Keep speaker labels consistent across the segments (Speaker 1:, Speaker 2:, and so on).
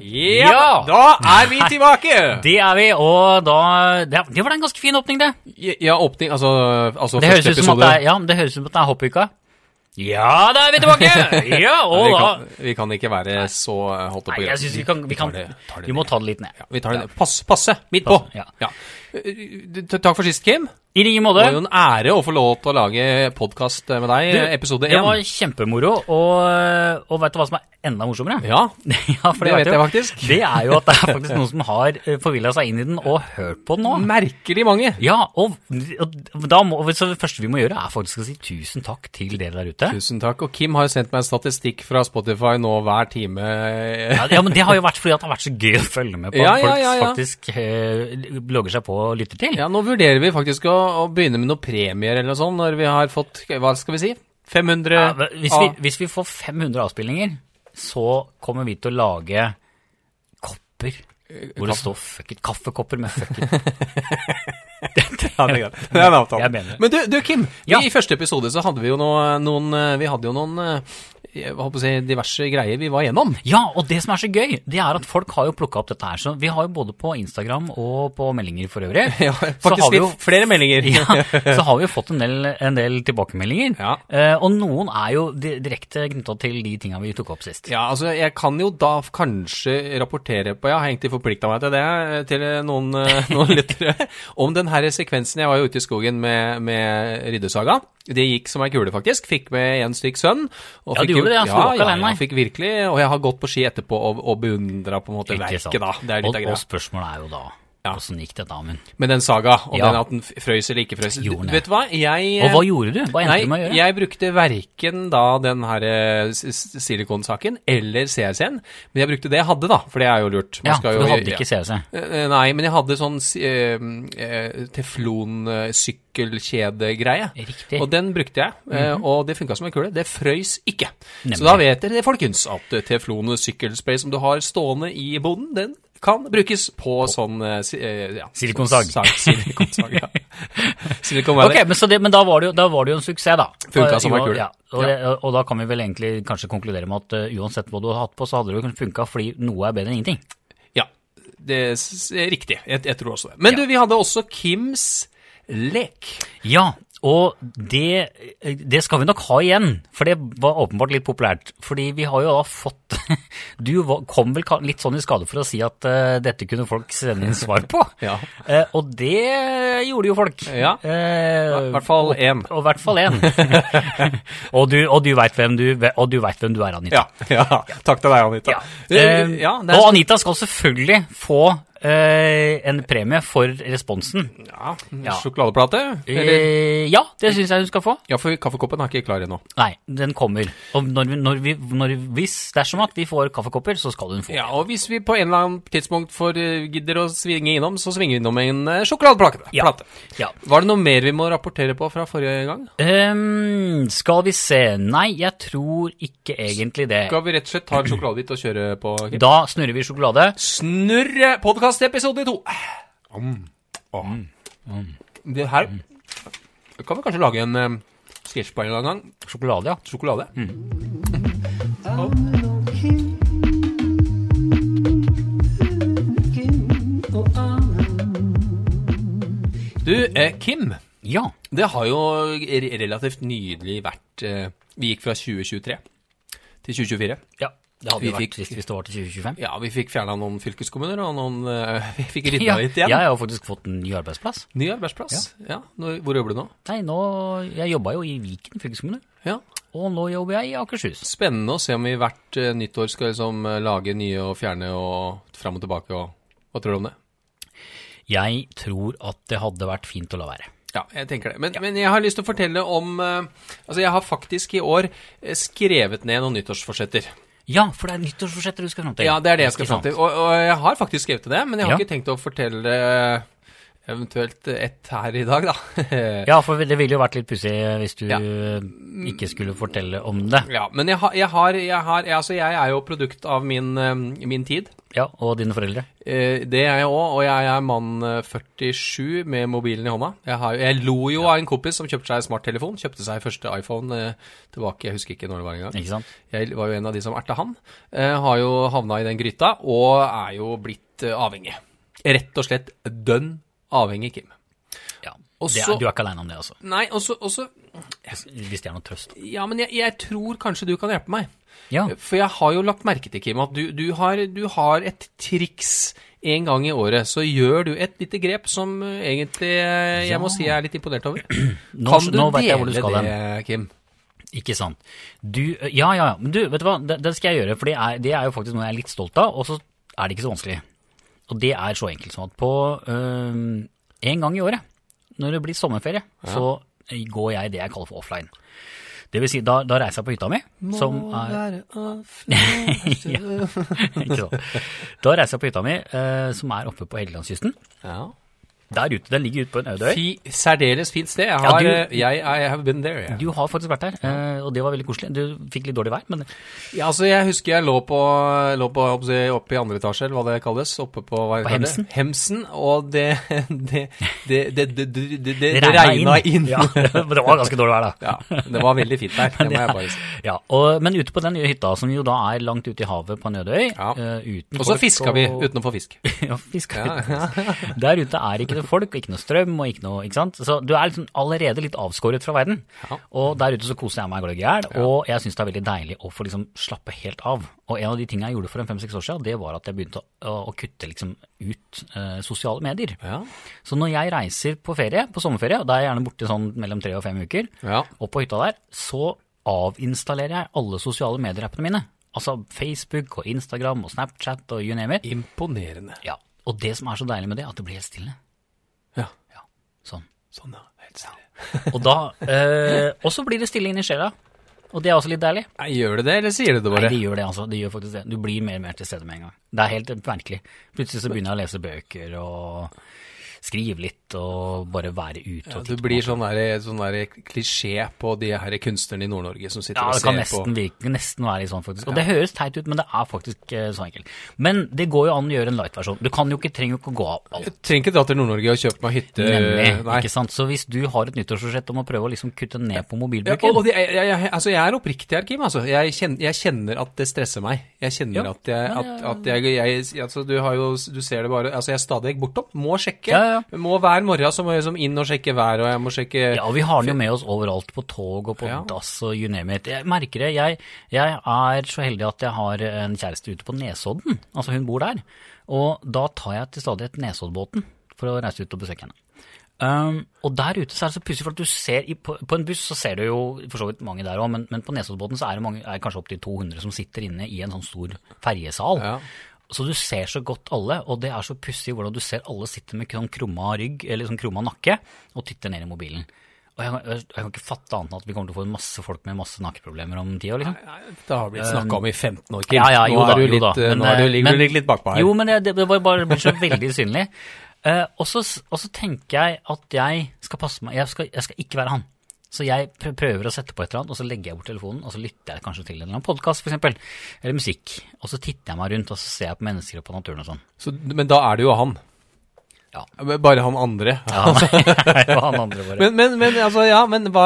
Speaker 1: Ja!
Speaker 2: Da er vi tilbake!
Speaker 1: Det er vi, og da Det det var da en ganske fin åpning, det.
Speaker 2: Ja, åpning Altså, altså
Speaker 1: Det høres,
Speaker 2: første
Speaker 1: ut som at
Speaker 2: episode.
Speaker 1: det er, ja, men det høres ut som at det er hoppuka. Ja, da er vi tilbake! Ja, og
Speaker 2: vi,
Speaker 1: da
Speaker 2: kan, vi kan ikke være så holdt opp
Speaker 1: Nei, jeg synes vi kan, vi kan
Speaker 2: tar det- tar det
Speaker 1: Vi må ta det litt ned.
Speaker 2: Ja, vi tar det Pass, passe! Midt på!
Speaker 1: Passe, ja.
Speaker 2: Eh, t- Takk for sist, Kim.
Speaker 1: I like
Speaker 2: Det var jo en
Speaker 1: måte.
Speaker 2: ære å få lov til å lage podkast med deg,
Speaker 1: Du,
Speaker 2: episode
Speaker 1: Det var
Speaker 2: én.
Speaker 1: kjempemoro, og, og veit du hva som er enda morsommere?
Speaker 2: Ja,
Speaker 1: Ja, for
Speaker 2: det vet
Speaker 1: du.
Speaker 2: jeg faktisk.
Speaker 1: Det er jo at det er faktisk noen som har forvilla seg inn i den og hørt på den nå.
Speaker 2: Merkelig mange.
Speaker 1: Ja, og, og da må, så det første vi må gjøre, er faktisk å si tusen takk til dere der ute.
Speaker 2: Tusen takk. Og Kim har jo sendt meg en statistikk fra Spotify nå hver time.
Speaker 1: Ja, ja, men Det har jo vært fordi at det har vært så gøy å følge med på
Speaker 2: Ja,
Speaker 1: at
Speaker 2: ja,
Speaker 1: folk
Speaker 2: ja, ja.
Speaker 1: faktisk eh, logger seg på og lytter til.
Speaker 2: Ja, nå vurderer vi faktisk å, å begynne med noen premier eller noe sånt når vi har fått Hva skal vi si? 500
Speaker 1: Ja, men Eh, hvis, vi,
Speaker 2: av-
Speaker 1: hvis vi får 500 avspillinger, så kommer vi til å lage kopper hvor det står fuck it, kaffekopper med fuck it.
Speaker 2: Ja, det er greit. Det er en avtale.
Speaker 1: Jeg mener det.
Speaker 2: Men du, du Kim,
Speaker 1: Ja.
Speaker 2: i første episode så hadde vi jo noe, noen eh, Vi hadde jo noen eh, jeg holdt på å si diverse greier vi var igjennom.
Speaker 1: Ja, og det som er så gøy, det er at folk har jo plukka opp dette her. Så vi har jo både på Instagram og på meldinger for øvrig.
Speaker 2: Ja,
Speaker 1: så har
Speaker 2: faktisk
Speaker 1: vi jo-
Speaker 2: litt flere meldinger.
Speaker 1: ja, så har vi jo fått en del, en del tilbakemeldinger.
Speaker 2: Ja.
Speaker 1: Eh, og noen er jo di- direkte knytta til de tinga vi tok opp sist.
Speaker 2: Ja, altså, jeg kan jo da f- kanskje rapportere på Jeg har egentlig forplikta meg til det, eh, til eh, noen, eh, noen lyttere, om den her sekvensen. Jeg var jo ute i skogen med, med Ryddesaga. Det gikk som ei kule, faktisk. Fikk med én stykk sønn. og
Speaker 1: Ja,
Speaker 2: fikk
Speaker 1: du
Speaker 2: jo-
Speaker 1: gjorde det, ja, sto
Speaker 2: Ja,
Speaker 1: ikke
Speaker 2: ja,
Speaker 1: alene,
Speaker 2: jeg fikk virkelig, og jeg har gått på ski etterpå og, og beundra på en måte
Speaker 1: Ikke sant?
Speaker 2: verket, da. Det er litt
Speaker 1: og,
Speaker 2: av
Speaker 1: og
Speaker 2: greia.
Speaker 1: spørsmålet er jo da åssen gikk dette, Amund?
Speaker 2: Med den saga, og
Speaker 1: Ja.
Speaker 2: den at den f- frøys eller ikke frøys.
Speaker 1: Gjorde den
Speaker 2: Vet du hva, jeg
Speaker 1: Og hva gjorde du? Hva endte du med å
Speaker 2: Nei,
Speaker 1: gjøre?
Speaker 2: jeg brukte verken da den her eh, s- s- silikonsaken eller CRC-en, men jeg brukte det jeg hadde, da, for det er jo lurt. Man
Speaker 1: ja,
Speaker 2: skal jo-
Speaker 1: for du hadde ikke CC.
Speaker 2: Eh, eh, Nei, men jeg hadde sånn uh, eh, teflonsykkelkjedegreie.
Speaker 1: Riktig.
Speaker 2: Og den brukte jeg, eh, og det funka som en kule. Det frøys ikke.
Speaker 1: Mhm. Nemlig.
Speaker 2: Så da vet dere det, folkens, at eh, teflon sykkelspray som du har stående i boden, den kan brukes på, sånn eh, si- eh, ja,
Speaker 1: Silikonsag.
Speaker 2: sånn sag- Silikonsag, ja. Silikon Valley.
Speaker 1: Ok, men, så det, men da, var det jo, da var det jo en suksess, da.
Speaker 2: Funka
Speaker 1: Og-
Speaker 2: som en kule.
Speaker 1: Ja, og, det- og da kan vi vel egentlig kanskje konkludere med at eh, uansett hva du har hatt på, så hadde det jo funka fordi noe er bedre enn ingenting.
Speaker 2: Ja, det er s- er riktig. Jeg, jeg tror også det. Men du, vi hadde også Kims lek.
Speaker 1: Ja, og det, det skal vi nok ha igjen, for det var åpenbart litt populært. Fordi vi har jo da fått Du var- kom vel ka- litt sånn i skade for å si at eh, dette kunne folk sende inn svar på.
Speaker 2: Ja.
Speaker 1: Eh, og det gjorde jo folk.
Speaker 2: Ja. I
Speaker 1: Eh,
Speaker 2: hvert fall én.
Speaker 1: Og i hvert fall én. og du, og du veit hvem, du- og du vet hvem du er, Anita.
Speaker 2: Ja, ja. Takk til deg, Anita.
Speaker 1: Eh,
Speaker 2: Eh, ja, det er
Speaker 1: og Anita skal selvfølgelig få eh, en premie for responsen.
Speaker 2: Ja,
Speaker 1: Ja.
Speaker 2: Sjokoladeplate? Eller?
Speaker 1: Eh, ja, det syns jeg hun skal få.
Speaker 2: Ja, for kaffekoppen er ikke klar ennå.
Speaker 1: Nei, den kommer. Og når vi, når vi, når, hvis dersom at vi får kaffekopper, så skal hun få.
Speaker 2: Ja, og hvis vi på en eller annen tidspunkt får eh, gidder å svinge innom, så svinger vi innom en eh, sjokoladeplate.
Speaker 1: Ja.
Speaker 2: Plate.
Speaker 1: Ja.
Speaker 2: Var det noe mer vi må rapportere på fra forrige gang?
Speaker 1: Ehm, skal vi se Nei, jeg tror ikke egentlig det.
Speaker 2: Skal vi rett og slett ta en sjokoladebit og kjøre på? Kim?
Speaker 1: Da snurrer vi sjokolade.
Speaker 2: Snurre podkast episode to! Det her
Speaker 1: Mm.
Speaker 2: kan vi kanskje lage en eh, sketsj på en eller annen gang.
Speaker 1: Sjokolade, ja. Mm.
Speaker 2: Sjokolade. Du, eh, Kim.
Speaker 1: Ja,
Speaker 2: Det har jo re- relativt nydelig vært eh, Vi gikk fra 2023 til 2024.
Speaker 1: ja. Det hadde
Speaker 2: Vi
Speaker 1: jo vært
Speaker 2: fikk-
Speaker 1: trist hvis det var til 2025.
Speaker 2: Ja, vi fikk fjerna noen fylkeskommuner, og noen eh, Vi fikk rydda
Speaker 1: Ja,
Speaker 2: litt
Speaker 1: jeg
Speaker 2: igjen.
Speaker 1: har jo faktisk fått en ny arbeidsplass.
Speaker 2: Ny arbeidsplass. Ja. nå- Hvor jobber du nå?
Speaker 1: Nei, nå, Jeg jobba jo i Viken fylkeskommune,
Speaker 2: Ja.
Speaker 1: og nå jobber jeg i Akershus.
Speaker 2: Spennende å se om vi hvert eh, nyttår skal liksom eh, lage nye og fjerne og fram og tilbake og Hva tror du om det?
Speaker 1: Jeg tror at det hadde vært fint å la være.
Speaker 2: Ja, jeg tenker det. Men, men jeg har lyst til å fortelle om eh, Altså, jeg har faktisk i år eh, skrevet ned noen nyttårsforsetter.
Speaker 1: Ja, for det er nyttårsforsetter du skal fram til.
Speaker 2: Ja, det er det jeg skal
Speaker 1: Ikke sant?
Speaker 2: fram til. Og, og jeg har faktisk skrevet til det, men jeg har
Speaker 1: Ja.
Speaker 2: ikke tenkt å fortelle eh, Eventuelt ett her i dag, da.
Speaker 1: Ja, for det ville jo vært litt pussig eh, hvis du
Speaker 2: Ja.
Speaker 1: ikke skulle fortelle om det.
Speaker 2: ja, men jeg har, jeg har, jeg har Altså, jeg er jo produkt av min, eh, min tid.
Speaker 1: Ja, og dine foreldre.
Speaker 2: Eh, Det er jeg òg, og jeg er mann eh, 47 med mobilen i hånda. Jeg, har, jo- jeg lo jo av en kompis som kjøpte seg smarttelefon. Kjøpte seg første iPhone eh, tilbake, jeg husker ikke når det var engang.
Speaker 1: Ikke sant?
Speaker 2: Jeg var jo en av de som erta han. Eh, har jo havna i den gryta, og er jo blitt eh, avhengig. Rett og slett dønn avhengig, Kim.
Speaker 1: Ja.
Speaker 2: Og
Speaker 1: det er,
Speaker 2: så-
Speaker 1: du er ikke aleine om det, altså.
Speaker 2: Nei, og så- og så
Speaker 1: Hvis det er noe trøst.
Speaker 2: Ja, men jeg, jeg tror kanskje du kan hjelpe meg.
Speaker 1: Ja.
Speaker 2: For jeg har jo lagt merke til, Kim, at du, du, har, du har et triks en gang i året. Så gjør du et lite grep som eh, egentlig eh, jeg må si jeg er litt imponert over.
Speaker 1: Nå,
Speaker 2: kan du
Speaker 1: nå vet jeg hvor du skal
Speaker 2: dele
Speaker 1: hen.
Speaker 2: det, Kim?
Speaker 1: Ikke sant. Du, eh, ja, ja, ja. Men du, vet du hva, det, det skal jeg gjøre, for det er, det er jo faktisk noe jeg er litt stolt av, og så er det ikke så vanskelig. Og det er så enkelt som at på øhm, en gang i året, når det blir sommerferie, så går jeg det jeg kaller for offline. Det vil si, da, da reiser jeg på hytta mi, som er
Speaker 2: ja.
Speaker 1: ikke sant. Da reiser jeg på hytta mi, eh, som er oppe på Helgelandskysten. Der ute, den ligger ute på en øde øy.
Speaker 2: Fi, særdeles fint sted. Jeg har
Speaker 1: du-
Speaker 2: eh, jeg, I have been there. jeg.
Speaker 1: Du har faktisk vært der, eh, og det var veldig koselig. Du fikk litt dårlig vær, men
Speaker 2: Ja, altså, jeg husker jeg lå på, lå på jeg holdt på å si, oppe i andre etasje, eller hva det kalles. Oppe på, hva
Speaker 1: På
Speaker 2: heter det?
Speaker 1: Hemsen.
Speaker 2: Hemsen. Og det Det, det, det, det, det, det, det
Speaker 1: det
Speaker 2: regna inn.
Speaker 1: Ja, men det var ganske dårlig vær, da.
Speaker 2: Ja, det var veldig fint der, det må jeg bare si.
Speaker 1: Ja, og, men ute på den nye hytta, som jo da er langt ute i havet på en øde øy
Speaker 2: Ja.
Speaker 1: eh, uten
Speaker 2: Og så
Speaker 1: folk
Speaker 2: fiska vi
Speaker 1: og-
Speaker 2: uten å få fisk.
Speaker 1: ja, fiska
Speaker 2: Ja.
Speaker 1: uten. Der ute er ikke det folk, og ikke noe strøm, og ikke noe, ikke sant? Så du er liksom allerede litt avskåret fra verden.
Speaker 2: Ja.
Speaker 1: Og der ute så koser jeg meg gløgg i hjel, og jeg syns det er veldig deilig å få liksom slappe helt av. Og en av de tingene jeg gjorde for en fem-seks år siden, det var at jeg begynte å, å kutte liksom ut eh, sosiale medier.
Speaker 2: Ja.
Speaker 1: Så når jeg reiser på ferie, på sommerferie, og da er jeg gjerne borte sånn mellom tre og fem uker,
Speaker 2: Ja.
Speaker 1: og på hytta der, så avinstallerer jeg alle sosiale medier-appene mine. Altså Facebook og Instagram og Snapchat og you name it.
Speaker 2: Imponerende.
Speaker 1: Ja, og det som er så deilig med det, er at det blir helt stille.
Speaker 2: Ja.
Speaker 1: Sånn.
Speaker 2: Sånn, ja. Helt stille.
Speaker 1: Og da, eh, og så blir det stille inni sjela. Og det er også litt deilig.
Speaker 2: Nei, Gjør du det, eller sier du det
Speaker 1: Nei,
Speaker 2: bare?
Speaker 1: det gjør det, altså. Det gjør faktisk det. Du blir mer og mer til stede med en gang. Det er helt merkelig. Plutselig så begynner jeg å lese bøker og skrive litt og bare være ute og
Speaker 2: Du
Speaker 1: titte på.
Speaker 2: blir sånn der, sånn der klisjé på de her kunstnerne i Nord-Norge som sitter
Speaker 1: Ja,
Speaker 2: og
Speaker 1: det kan
Speaker 2: ser på
Speaker 1: nesten, virke, nesten være litt sånn, faktisk. Og det høres teit ut, men det er faktisk eh, så enkelt. Men det går jo an å gjøre en light-versjon. Du kan jo ikke, trenger jo ikke å gå av alt.
Speaker 2: Jeg trenger ikke dra til Nord-Norge og kjøpe meg hytte.
Speaker 1: Nemlig,
Speaker 2: Eh, Nei.
Speaker 1: ikke sant? Så hvis du har et nyttårsforsett om å prøve å liksom kutte ned
Speaker 2: Ja, og,
Speaker 1: på mobilbruken
Speaker 2: og det, jeg, jeg, jeg- altså jeg er oppriktig her, Kim. Altså. Jeg, kjenner, jeg kjenner at det stresser meg. Jeg kjenner
Speaker 1: Ja.
Speaker 2: at jeg, at, at jeg, jeg altså, du, har jo, du ser det bare Altså, jeg er stadig bortom. Må sjekke.
Speaker 1: Ja, ja.
Speaker 2: Må hver morgen så må jeg liksom inn og sjekke været, og jeg må sjekke
Speaker 1: ja, vi har den jo med oss overalt, på tog og på
Speaker 2: Eh, Ja.
Speaker 1: dass og you name it. Jeg merker det. Jeg, jeg er så heldig at jeg har en kjæreste ute på Nesodden. Altså, hun bor der. Og da tar jeg til stadighet Nesoddbåten for å reise ut og besøke henne. Um, og der ute så er det så pussig, for at du ser i, på, på en buss så ser du jo for så vidt mange der òg, men, men på Nesoddbåten så er det mange, er det kanskje opptil 200 som sitter inne i en sånn stor ferjesal.
Speaker 2: Ja.
Speaker 1: Så du ser så godt alle, og det er så pussig hvordan du ser alle sitter med sånn krumma rygg, eller sånn krumma nakke, og titter ned i mobilen. Og jeg, jeg, jeg kan ikke fatte annet enn at vi kommer til å få masse folk med masse nakkeproblemer om ti år, liksom.
Speaker 2: Nei, Dette har blitt snakka om i 15 år, Kim.
Speaker 1: Ja, ja, jo
Speaker 2: nå er
Speaker 1: da,
Speaker 2: du
Speaker 1: jo
Speaker 2: litt,
Speaker 1: da.
Speaker 2: eh,
Speaker 1: Men,
Speaker 2: nå er du,
Speaker 1: eh,
Speaker 2: ligger,
Speaker 1: men-
Speaker 2: du ligger litt bakpå her.
Speaker 1: Jo, men det, det var bare blitt så veldig synlig. Eh, og, så, og så tenker jeg at jeg skal passe meg, jeg skal, jeg skal ikke være han. Så jeg prø- prøver å sette på et eller annet, og så legger jeg bort telefonen, og så lytter jeg kanskje til en eller annen podkast, eksempel, eller musikk. Og så titter jeg meg rundt, og så ser jeg på mennesker og på naturen og sånn.
Speaker 2: Så, men da er det jo han.
Speaker 1: Ja.
Speaker 2: Men Bare han andre.
Speaker 1: Ja, og han andre bare.
Speaker 2: Men, men, men altså, ja, men hva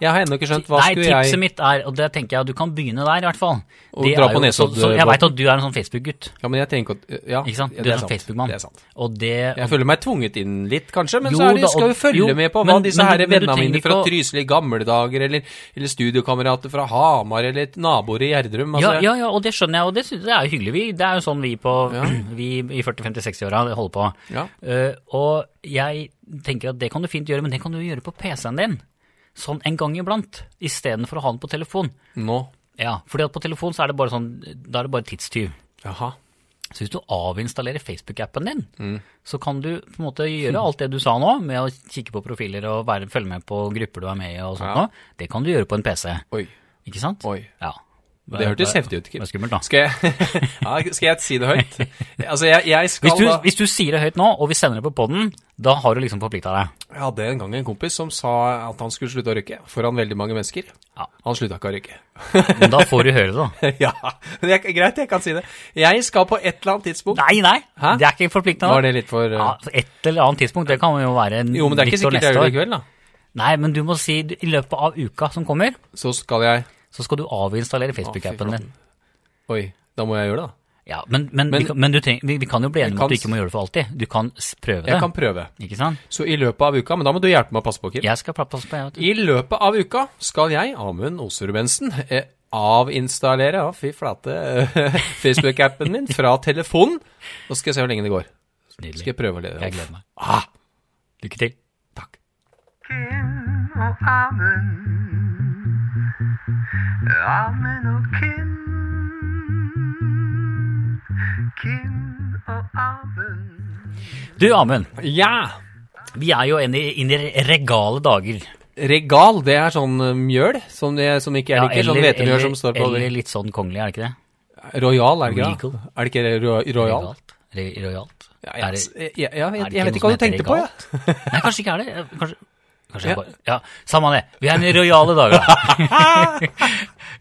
Speaker 2: Jeg har ennå ikke skjønt hva
Speaker 1: Nei,
Speaker 2: skulle
Speaker 1: tipset
Speaker 2: jeg
Speaker 1: mitt er, og det tenker jeg at du kan begynne der i hvert fall.
Speaker 2: Og
Speaker 1: Det
Speaker 2: dra
Speaker 1: er
Speaker 2: på
Speaker 1: jo- så-
Speaker 2: Nesodd-
Speaker 1: så Jeg veit at du er en sånn Facebook-gutt,
Speaker 2: Ja, men jeg tenker at Ja,
Speaker 1: ikke sant?
Speaker 2: ja,
Speaker 1: Du er
Speaker 2: det
Speaker 1: en
Speaker 2: sant.
Speaker 1: sånn Facebook-mann.
Speaker 2: Det er sant.
Speaker 1: Og det
Speaker 2: Jeg føler meg tvunget inn litt, kanskje, men
Speaker 1: Jo
Speaker 2: så er det,
Speaker 1: da,
Speaker 2: skal
Speaker 1: og-
Speaker 2: vi følge
Speaker 1: jo,
Speaker 2: med på hva
Speaker 1: men-
Speaker 2: disse
Speaker 1: men du-
Speaker 2: her
Speaker 1: men du
Speaker 2: vennene
Speaker 1: trenger
Speaker 2: mine fra
Speaker 1: ikke å-
Speaker 2: Trysil i gamle dager, eller, eller studiokamerater fra Hamar, eller et naboer i Gjerdrum altså,
Speaker 1: ja, ja, ja, og det skjønner jeg, og det, synes, det er jo hyggelig. Vi, det er jo sånn vi, på, vi i 40-50-60-åra holder på.
Speaker 2: Ja.
Speaker 1: Eh, og jeg tenker at det kan du fint gjøre, men det kan du jo gjøre på PC-en din. Sånn en gang iblant, istedenfor å ha den på telefon.
Speaker 2: Nå.
Speaker 1: Ja, fordi at på telefon så er det bare sånn, da er det bare tidstyv.
Speaker 2: Jaha.
Speaker 1: Så hvis du avinstallerer Facebook-appen din, så kan du på en måte gjøre alt det du sa nå, med å kikke på profiler og være, følge med på grupper du er med i og sånt
Speaker 2: Ja.
Speaker 1: noe. Det kan du gjøre på en PC,
Speaker 2: Oi.
Speaker 1: ikke sant?
Speaker 2: Oi.
Speaker 1: Ja.
Speaker 2: Det hørtes heftig ut.
Speaker 1: Det
Speaker 2: Kim.
Speaker 1: er skummelt, da.
Speaker 2: Skal jeg, ja, skal jeg si det høyt? Altså, jeg, jeg skal
Speaker 1: Hvis du,
Speaker 2: da
Speaker 1: hvis du sier det høyt nå, og vi sender det på podden, da har du liksom forplikta deg.
Speaker 2: Jeg hadde en gang en kompis som sa at han skulle slutte å røyke foran veldig mange mennesker.
Speaker 1: Ja.
Speaker 2: Han slutta ikke å røyke.
Speaker 1: Men da får du høre det, da.
Speaker 2: ja, men jeg, greit, jeg kan si det. Jeg skal på et eller annet tidspunkt
Speaker 1: Nei, nei!
Speaker 2: Hæ?
Speaker 1: Det er ikke forpliktende.
Speaker 2: Var det litt for eh,
Speaker 1: ja, Et eller annet tidspunkt. Det kan jo være en-
Speaker 2: Jo, men det er ikke
Speaker 1: litt år
Speaker 2: sikkert jeg gjør
Speaker 1: neste
Speaker 2: det i
Speaker 1: år.
Speaker 2: kveld, da.
Speaker 1: Nei, men du må si du- i løpet av uka som kommer,
Speaker 2: Så skal jeg
Speaker 1: så skal du
Speaker 2: Å,
Speaker 1: avinstallere Facebook-appen
Speaker 2: fy
Speaker 1: din.
Speaker 2: Oi, da må jeg gjøre det, da.
Speaker 1: Ja, men, men,
Speaker 2: Men-
Speaker 1: vi, kan, men du treng, vi, vi kan jo bli enige om
Speaker 2: kan
Speaker 1: at du
Speaker 2: s-
Speaker 1: ikke må gjøre det for alltid. Du kan s- prøve det.
Speaker 2: Jeg kan prøve.
Speaker 1: Ikke sant?
Speaker 2: Så i løpet av uka Men da må du hjelpe meg å passe på, Kim.
Speaker 1: Jeg skal passe på, jeg. vet du.
Speaker 2: I løpet av uka skal jeg, Amund Osrud Bensen, eh, avinstallere ja, fy flate, eh, Facebook-appen min fra telefonen. Nå skal jeg se hvor lenge det går. Skal
Speaker 1: Nydelig.
Speaker 2: jeg prøve å lede
Speaker 1: Jeg gleder meg.
Speaker 2: Ah,
Speaker 1: Lykke til.
Speaker 2: takk.
Speaker 3: Kim og Amund. Amund og Kim. Kim og Amund.
Speaker 1: Du, Amund.
Speaker 2: Ja!
Speaker 1: Vi er jo inne i, inne i regale dager.
Speaker 2: Regal, det er sånn eh, mjøl som, det, som ikke jeg
Speaker 1: Ja,
Speaker 2: liker. sånn hvetemjøl som står på
Speaker 1: eller litt sånn kongelig, er det ikke det?
Speaker 2: Royal, er det ikke det?
Speaker 1: Regal.
Speaker 2: Er det ikke det ro, Royal?
Speaker 1: Regalt. Re Royalt.
Speaker 2: Ja,
Speaker 1: Er
Speaker 2: jeg,
Speaker 1: det-
Speaker 2: jeg, jeg, vet-
Speaker 1: er det
Speaker 2: jeg
Speaker 1: noe
Speaker 2: vet ikke hva
Speaker 1: som
Speaker 2: du tenkte
Speaker 1: heter
Speaker 2: på, jeg.
Speaker 1: regalt? Nei, kanskje ikke er det. Jeg- Kanskje, kanskje jeg
Speaker 2: Ja.
Speaker 1: bare, ja, samme det. Vi er i rojale dager, da.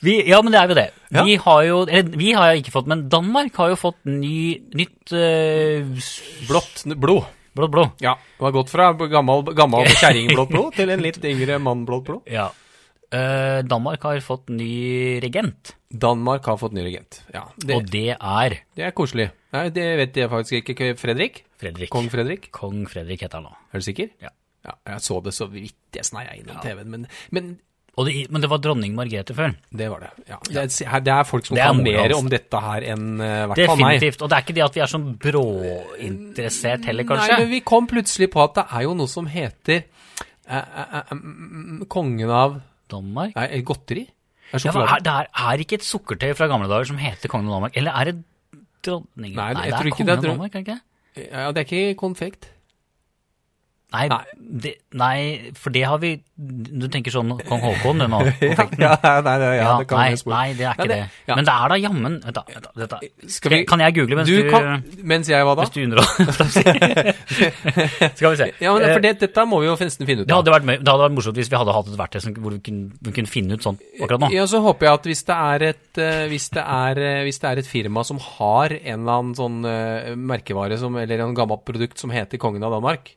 Speaker 1: vi, ja, men det er jo det. Vi har jo, eller vi har jo ikke fått, men Danmark har jo fått ny, nytt eh, s-
Speaker 2: Blått n- blod.
Speaker 1: blått blod.
Speaker 2: Ja. Det var gått fra gammel, gammel kjerringblått blod til en litt yngre mannblått blod.
Speaker 1: Ja. Eh, Danmark har fått ny regent,
Speaker 2: Danmark har fått ny regent. Ja, det,
Speaker 1: og det er
Speaker 2: det er koselig. Nei, det vet jeg faktisk ikke. K- Fredrik?
Speaker 1: Fredrik.
Speaker 2: Kong Fredrik?
Speaker 1: Kong Fredrik heter han nå.
Speaker 2: Er du sikker?
Speaker 1: Ja.
Speaker 2: ja jeg så det så vidt jeg sneia innom TV-en, men, men
Speaker 1: Og det, men det var dronning Margrethe før.
Speaker 2: det var det. Ja. Det, er, se her- det er folk som
Speaker 1: Det er
Speaker 2: kan
Speaker 1: moro,
Speaker 2: mer
Speaker 1: altså.
Speaker 2: om dette her enn eh, i hvert fall meg.
Speaker 1: Definitivt. Og det er ikke det at vi er sånn bråinteressert heller, kanskje.
Speaker 2: Nei, men vi kom plutselig på at det er jo noe som heter eh, eh, eh, mm, Kongen av
Speaker 1: Danmark?
Speaker 2: Nei, eh, godteri? Er
Speaker 1: Ja, for
Speaker 2: sjokolade?
Speaker 1: er, det er, er ikke et sukkertøy fra gamle dager som heter kongen av Danmark? Eller er det dronningen?
Speaker 2: Nei, jeg
Speaker 1: det
Speaker 2: tror
Speaker 1: er
Speaker 2: ikke
Speaker 1: kongen
Speaker 2: det er
Speaker 1: av
Speaker 2: dron-
Speaker 1: Danmark, er det ikke?
Speaker 2: Ja, det er ikke konfekt.
Speaker 1: Nei,
Speaker 2: Nei.
Speaker 1: Det, nei, for det har vi Du tenker sånn Kong Haakon, du nå? konfekten.
Speaker 2: nei, nei, nei,
Speaker 1: Ja, nei,
Speaker 2: være spor.
Speaker 1: nei, det er ikke
Speaker 2: Nei,
Speaker 1: det.
Speaker 2: det- ja.
Speaker 1: Men det er da jammen Vent, da. Vent, da, vent da.
Speaker 2: Skal vi-
Speaker 1: Kan jeg google mens du,
Speaker 2: Du kan, mens jeg var da?
Speaker 1: Hvis du underholder? Skal vi se. Eh,
Speaker 2: Ja, men for det, Dette må vi jo nesten finne ut
Speaker 1: Det
Speaker 2: av.
Speaker 1: hadde, vært, mø- det hadde vært morsomt hvis vi hadde hatt et verktøy som, hvor vi kunne, vi kunne finne ut sånt akkurat nå.
Speaker 2: Ja, så håper jeg at hvis det, er et, eh, hvis, det er, eh, hvis det er et firma som har en eller annen sånn eh, merkevare som, eller en gammelt produkt som heter Kongen av Danmark,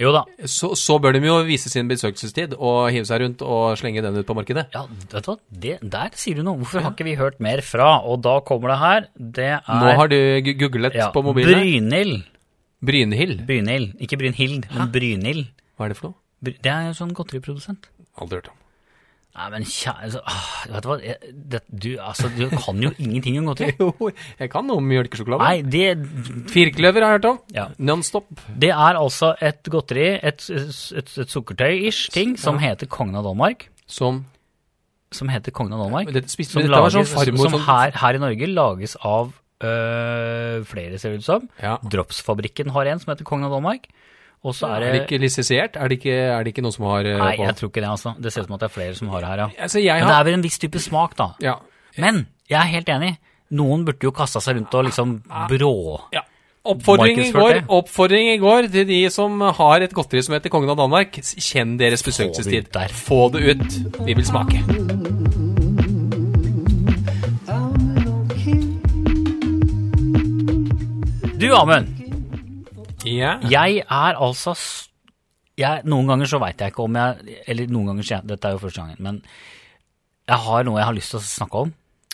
Speaker 1: Jo da.
Speaker 2: så, så bør de jo vise sin besøkelsestid og hive seg rundt og slenge den ut på markedet.
Speaker 1: Ja, vet du hva, det, der sier du noe. Hvorfor har ikke vi hørt mer fra? Og da kommer det her. Det er
Speaker 2: Nå har du gu- googlet
Speaker 1: ja,
Speaker 2: på mobilen. her.
Speaker 1: Brynhild.
Speaker 2: Brynhild,
Speaker 1: Brynhild. Ikke Brynhild, men Brynhild.
Speaker 2: hva er det for noe?
Speaker 1: Br- Det er jo sånn godteriprodusent.
Speaker 2: Aldri hørt om.
Speaker 1: Nei, men kjære altså, ah, Vet du hva, jeg- det, du, altså, du kan jo ingenting om godteri.
Speaker 2: Jo, jeg kan noe om mjølkesjokolade.
Speaker 1: Nei, det,
Speaker 2: Firkløver har jeg hørt om.
Speaker 1: Ja.
Speaker 2: Nonstop.
Speaker 1: det er altså et godteri, et, et, et sukkertøy-ish ting, som heter Kongen av Danmark.
Speaker 2: Som
Speaker 1: Som heter Kongen av Danmark.
Speaker 2: Men dette spiste-
Speaker 1: som
Speaker 2: men dette var
Speaker 1: lages,
Speaker 2: sånn farmor
Speaker 1: som
Speaker 2: som-
Speaker 1: her, her i Norge lages av øh, flere, ser det ut som.
Speaker 2: Ja.
Speaker 1: Dropsfabrikken har en som heter Kongen av Danmark. Og så
Speaker 2: Er
Speaker 1: er
Speaker 2: det
Speaker 1: det
Speaker 2: ikke lisensiert? Er det ikke, er det ikke noen som har eh,
Speaker 1: Nei,
Speaker 2: på-
Speaker 1: jeg tror ikke det, altså. Det ser ut som at det er flere som har det her, ja.
Speaker 2: Altså, jeg
Speaker 1: Men det
Speaker 2: har
Speaker 1: er vel en viss type smak, da.
Speaker 2: ja.
Speaker 1: Men jeg er helt enig. Noen burde jo kasta seg rundt og liksom brå...
Speaker 2: ja. Oppfordring, i går,
Speaker 1: Markedsført det.
Speaker 2: oppfordring i går til de som har et godteri som heter Kongen av Danmark. S- Kjenn deres besøkelsestid.
Speaker 1: ut der.
Speaker 2: Få det ut. Vi vil smake.
Speaker 3: Amund og Kim.
Speaker 1: Du, Amund.
Speaker 2: Ja.
Speaker 1: Jeg er altså s- jeg, Noen ganger så veit jeg ikke om jeg Eller noen ganger så jeg, Dette er jo første gangen, men jeg har noe jeg har lyst til å snakke om.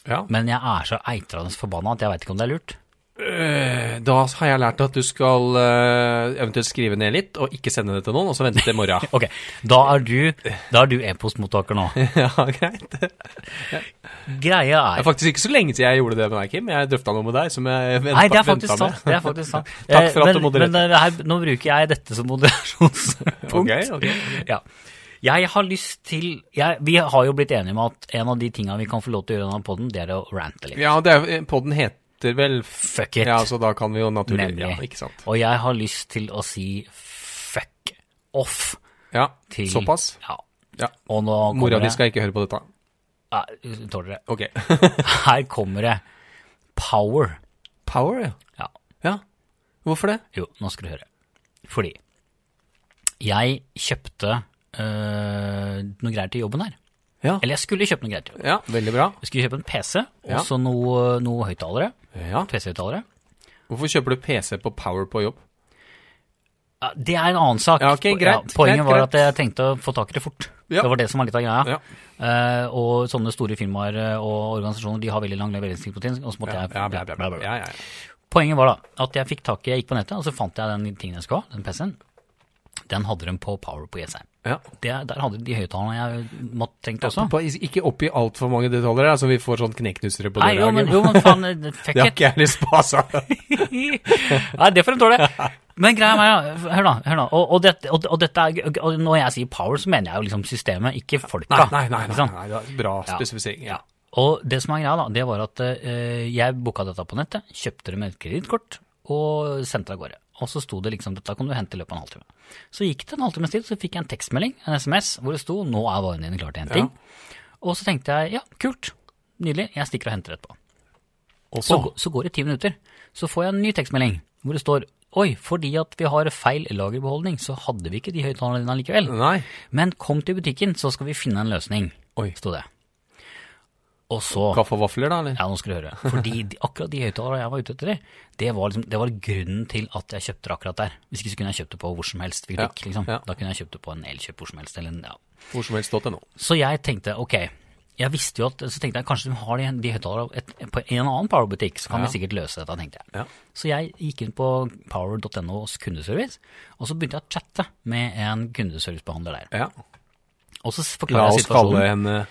Speaker 2: Ja.
Speaker 1: Men jeg er så eitrende forbanna at jeg veit ikke om det er lurt.
Speaker 2: Eh, Da har jeg lært at du skal eh, eventuelt skrive ned litt, og ikke sende det til noen, og så vente til i morgen.
Speaker 1: Ok, Da er du, da er du e-postmottaker nå.
Speaker 2: ja, greit. Det
Speaker 1: Greia
Speaker 2: er
Speaker 1: er
Speaker 2: faktisk ikke så lenge siden jeg gjorde det med deg, Kim. Jeg drøfta noe med deg som jeg venta,
Speaker 1: Nei, det er
Speaker 2: venta
Speaker 1: faktisk sant.
Speaker 2: med.
Speaker 1: Det er faktisk sant.
Speaker 2: Takk for at
Speaker 1: Eh,
Speaker 2: du
Speaker 1: men,
Speaker 2: modererte.
Speaker 1: Men det her, nå bruker jeg dette som moderasjonspunkt.
Speaker 2: Ok, ok, ok.
Speaker 1: Ja. Jeg har lyst til jeg, Vi har jo blitt enige om at en av de tinga vi kan få lov til å gjøre i denne podden, det er å rante litt.
Speaker 2: Ja, det er, podden heter vel
Speaker 1: Fuck it.
Speaker 2: Ja, så da kan vi jo naturlig
Speaker 1: Nemlig.
Speaker 2: Ja, ikke sant.
Speaker 1: Og jeg har lyst til å si fuck off
Speaker 2: Ja,
Speaker 1: til
Speaker 2: såpass.
Speaker 1: Ja.
Speaker 2: Ja.
Speaker 1: Og nå kommer
Speaker 2: Mora di
Speaker 1: det-
Speaker 2: skal ikke høre på dette.
Speaker 1: Nei, tåler det.
Speaker 2: Ok.
Speaker 1: Her kommer det. Power.
Speaker 2: Power, ja.
Speaker 1: Ja,
Speaker 2: ja. Hvorfor det?
Speaker 1: jo, nå skal du høre. Fordi jeg kjøpte øh, noe greier til jobben her.
Speaker 2: Ja.
Speaker 1: Eller jeg skulle kjøpe noe greier til jobben.
Speaker 2: ja. Veldig bra.
Speaker 1: Jeg skulle kjøpe en PC, og
Speaker 2: Ja.
Speaker 1: så noe, noe høyttalere.
Speaker 2: Ja.
Speaker 1: PC-høyttalere.
Speaker 2: Hvorfor kjøper du PC på Power på jobb?
Speaker 1: Ja, det er en annen sak.
Speaker 2: Ja, ok, greit,
Speaker 1: poenget
Speaker 2: greit,
Speaker 1: var
Speaker 2: greit.
Speaker 1: at jeg tenkte å få tak i det fort.
Speaker 2: Ja.
Speaker 1: Det var det som var litt av greia.
Speaker 2: Ja.
Speaker 1: Eh, og sånne store firmaer eh, og organisasjoner de har veldig lang leveringstid på ting. Og så måtte
Speaker 2: Ja,
Speaker 1: jeg,
Speaker 2: ja, bla, bla, bla. ja, ja, ja.
Speaker 1: Poenget var da at jeg fikk tak i Jeg gikk på nettet, og så fant jeg den tingen jeg skulle ha, den PC-en. Den hadde de på Power på Jessheim.
Speaker 2: ja.
Speaker 1: Det, der hadde de de høyttalerne jeg måtte tenkt også.
Speaker 2: Apropos, is- Ikke oppgi altfor mange detaljer, da, så vi får sånn kneknusere på
Speaker 1: Nei,
Speaker 2: døra.
Speaker 1: jo, men, jo, men faen, eh, fuck
Speaker 2: det har
Speaker 1: it.
Speaker 2: ikke jeg lyst på, altså.
Speaker 1: Nei, det får de tåle. Men greia er, ja, hør da, hør da. Og, og, dette, og, og dette er, og når jeg sier power, så mener jeg jo liksom systemet, ikke folka.
Speaker 2: Nei, nei, nei,
Speaker 1: Ikke
Speaker 2: nei,
Speaker 1: sant?
Speaker 2: nei, det er bra
Speaker 1: Ja.
Speaker 2: spesifisering. Ja.
Speaker 1: Og det som er greia, da, det var at eh, jeg booka dette på nettet, kjøpte det med et kredittkort og sendte det av gårde. Og så sto det liksom dette kan du hente i løpet av en halvtime. Så gikk det en halvtimes tid, så fikk jeg en tekstmelding, en SMS, hvor det sto 'nå er varene dine klare til henting'. Og så tenkte jeg ja, kult, nydelig, jeg stikker og henter etterpå.
Speaker 2: Og
Speaker 1: Så,
Speaker 2: så
Speaker 1: gå- så går det ti minutter, så får jeg en ny tekstmelding hvor det står 'oi, fordi at vi har feil lagerbeholdning, så hadde vi ikke de høyttalerne dine allikevel'.
Speaker 2: Nei.
Speaker 1: Men kom til butikken, så skal vi finne en løsning,
Speaker 2: Oi.
Speaker 1: sto det. Og så
Speaker 2: Kaffe og vafler, da, eller?
Speaker 1: ja, nå skal du høre. Fordi de, akkurat de høyttalerne jeg var ute etter, det var, liksom, det var grunnen til at jeg kjøpte det akkurat der. Hvis ikke så kunne jeg kjøpt det på hvor som helst. Vi
Speaker 2: Ja,
Speaker 1: Klikk, liksom.
Speaker 2: ja.
Speaker 1: Da kunne jeg kjøpt det på en elkjøp hvor som helst. Eller en, ja.
Speaker 2: Hvor som helst .no.
Speaker 1: Så jeg tenkte ok, jeg visste jo at, så tenkte jeg kanskje de har de, de høyttalerne et- på en annen Power-butikk, så kan
Speaker 2: Ja.
Speaker 1: vi sikkert løse dette, tenkte jeg.
Speaker 2: Ja.
Speaker 1: Så jeg gikk inn på power.nos kundeservice, og så begynte jeg å chatte med en kundeservicebehandler der.
Speaker 2: ja.
Speaker 1: Og så
Speaker 2: La
Speaker 1: forklarer
Speaker 2: oss
Speaker 1: jeg
Speaker 2: kalle eh,
Speaker 1: situasjonen.
Speaker 2: henne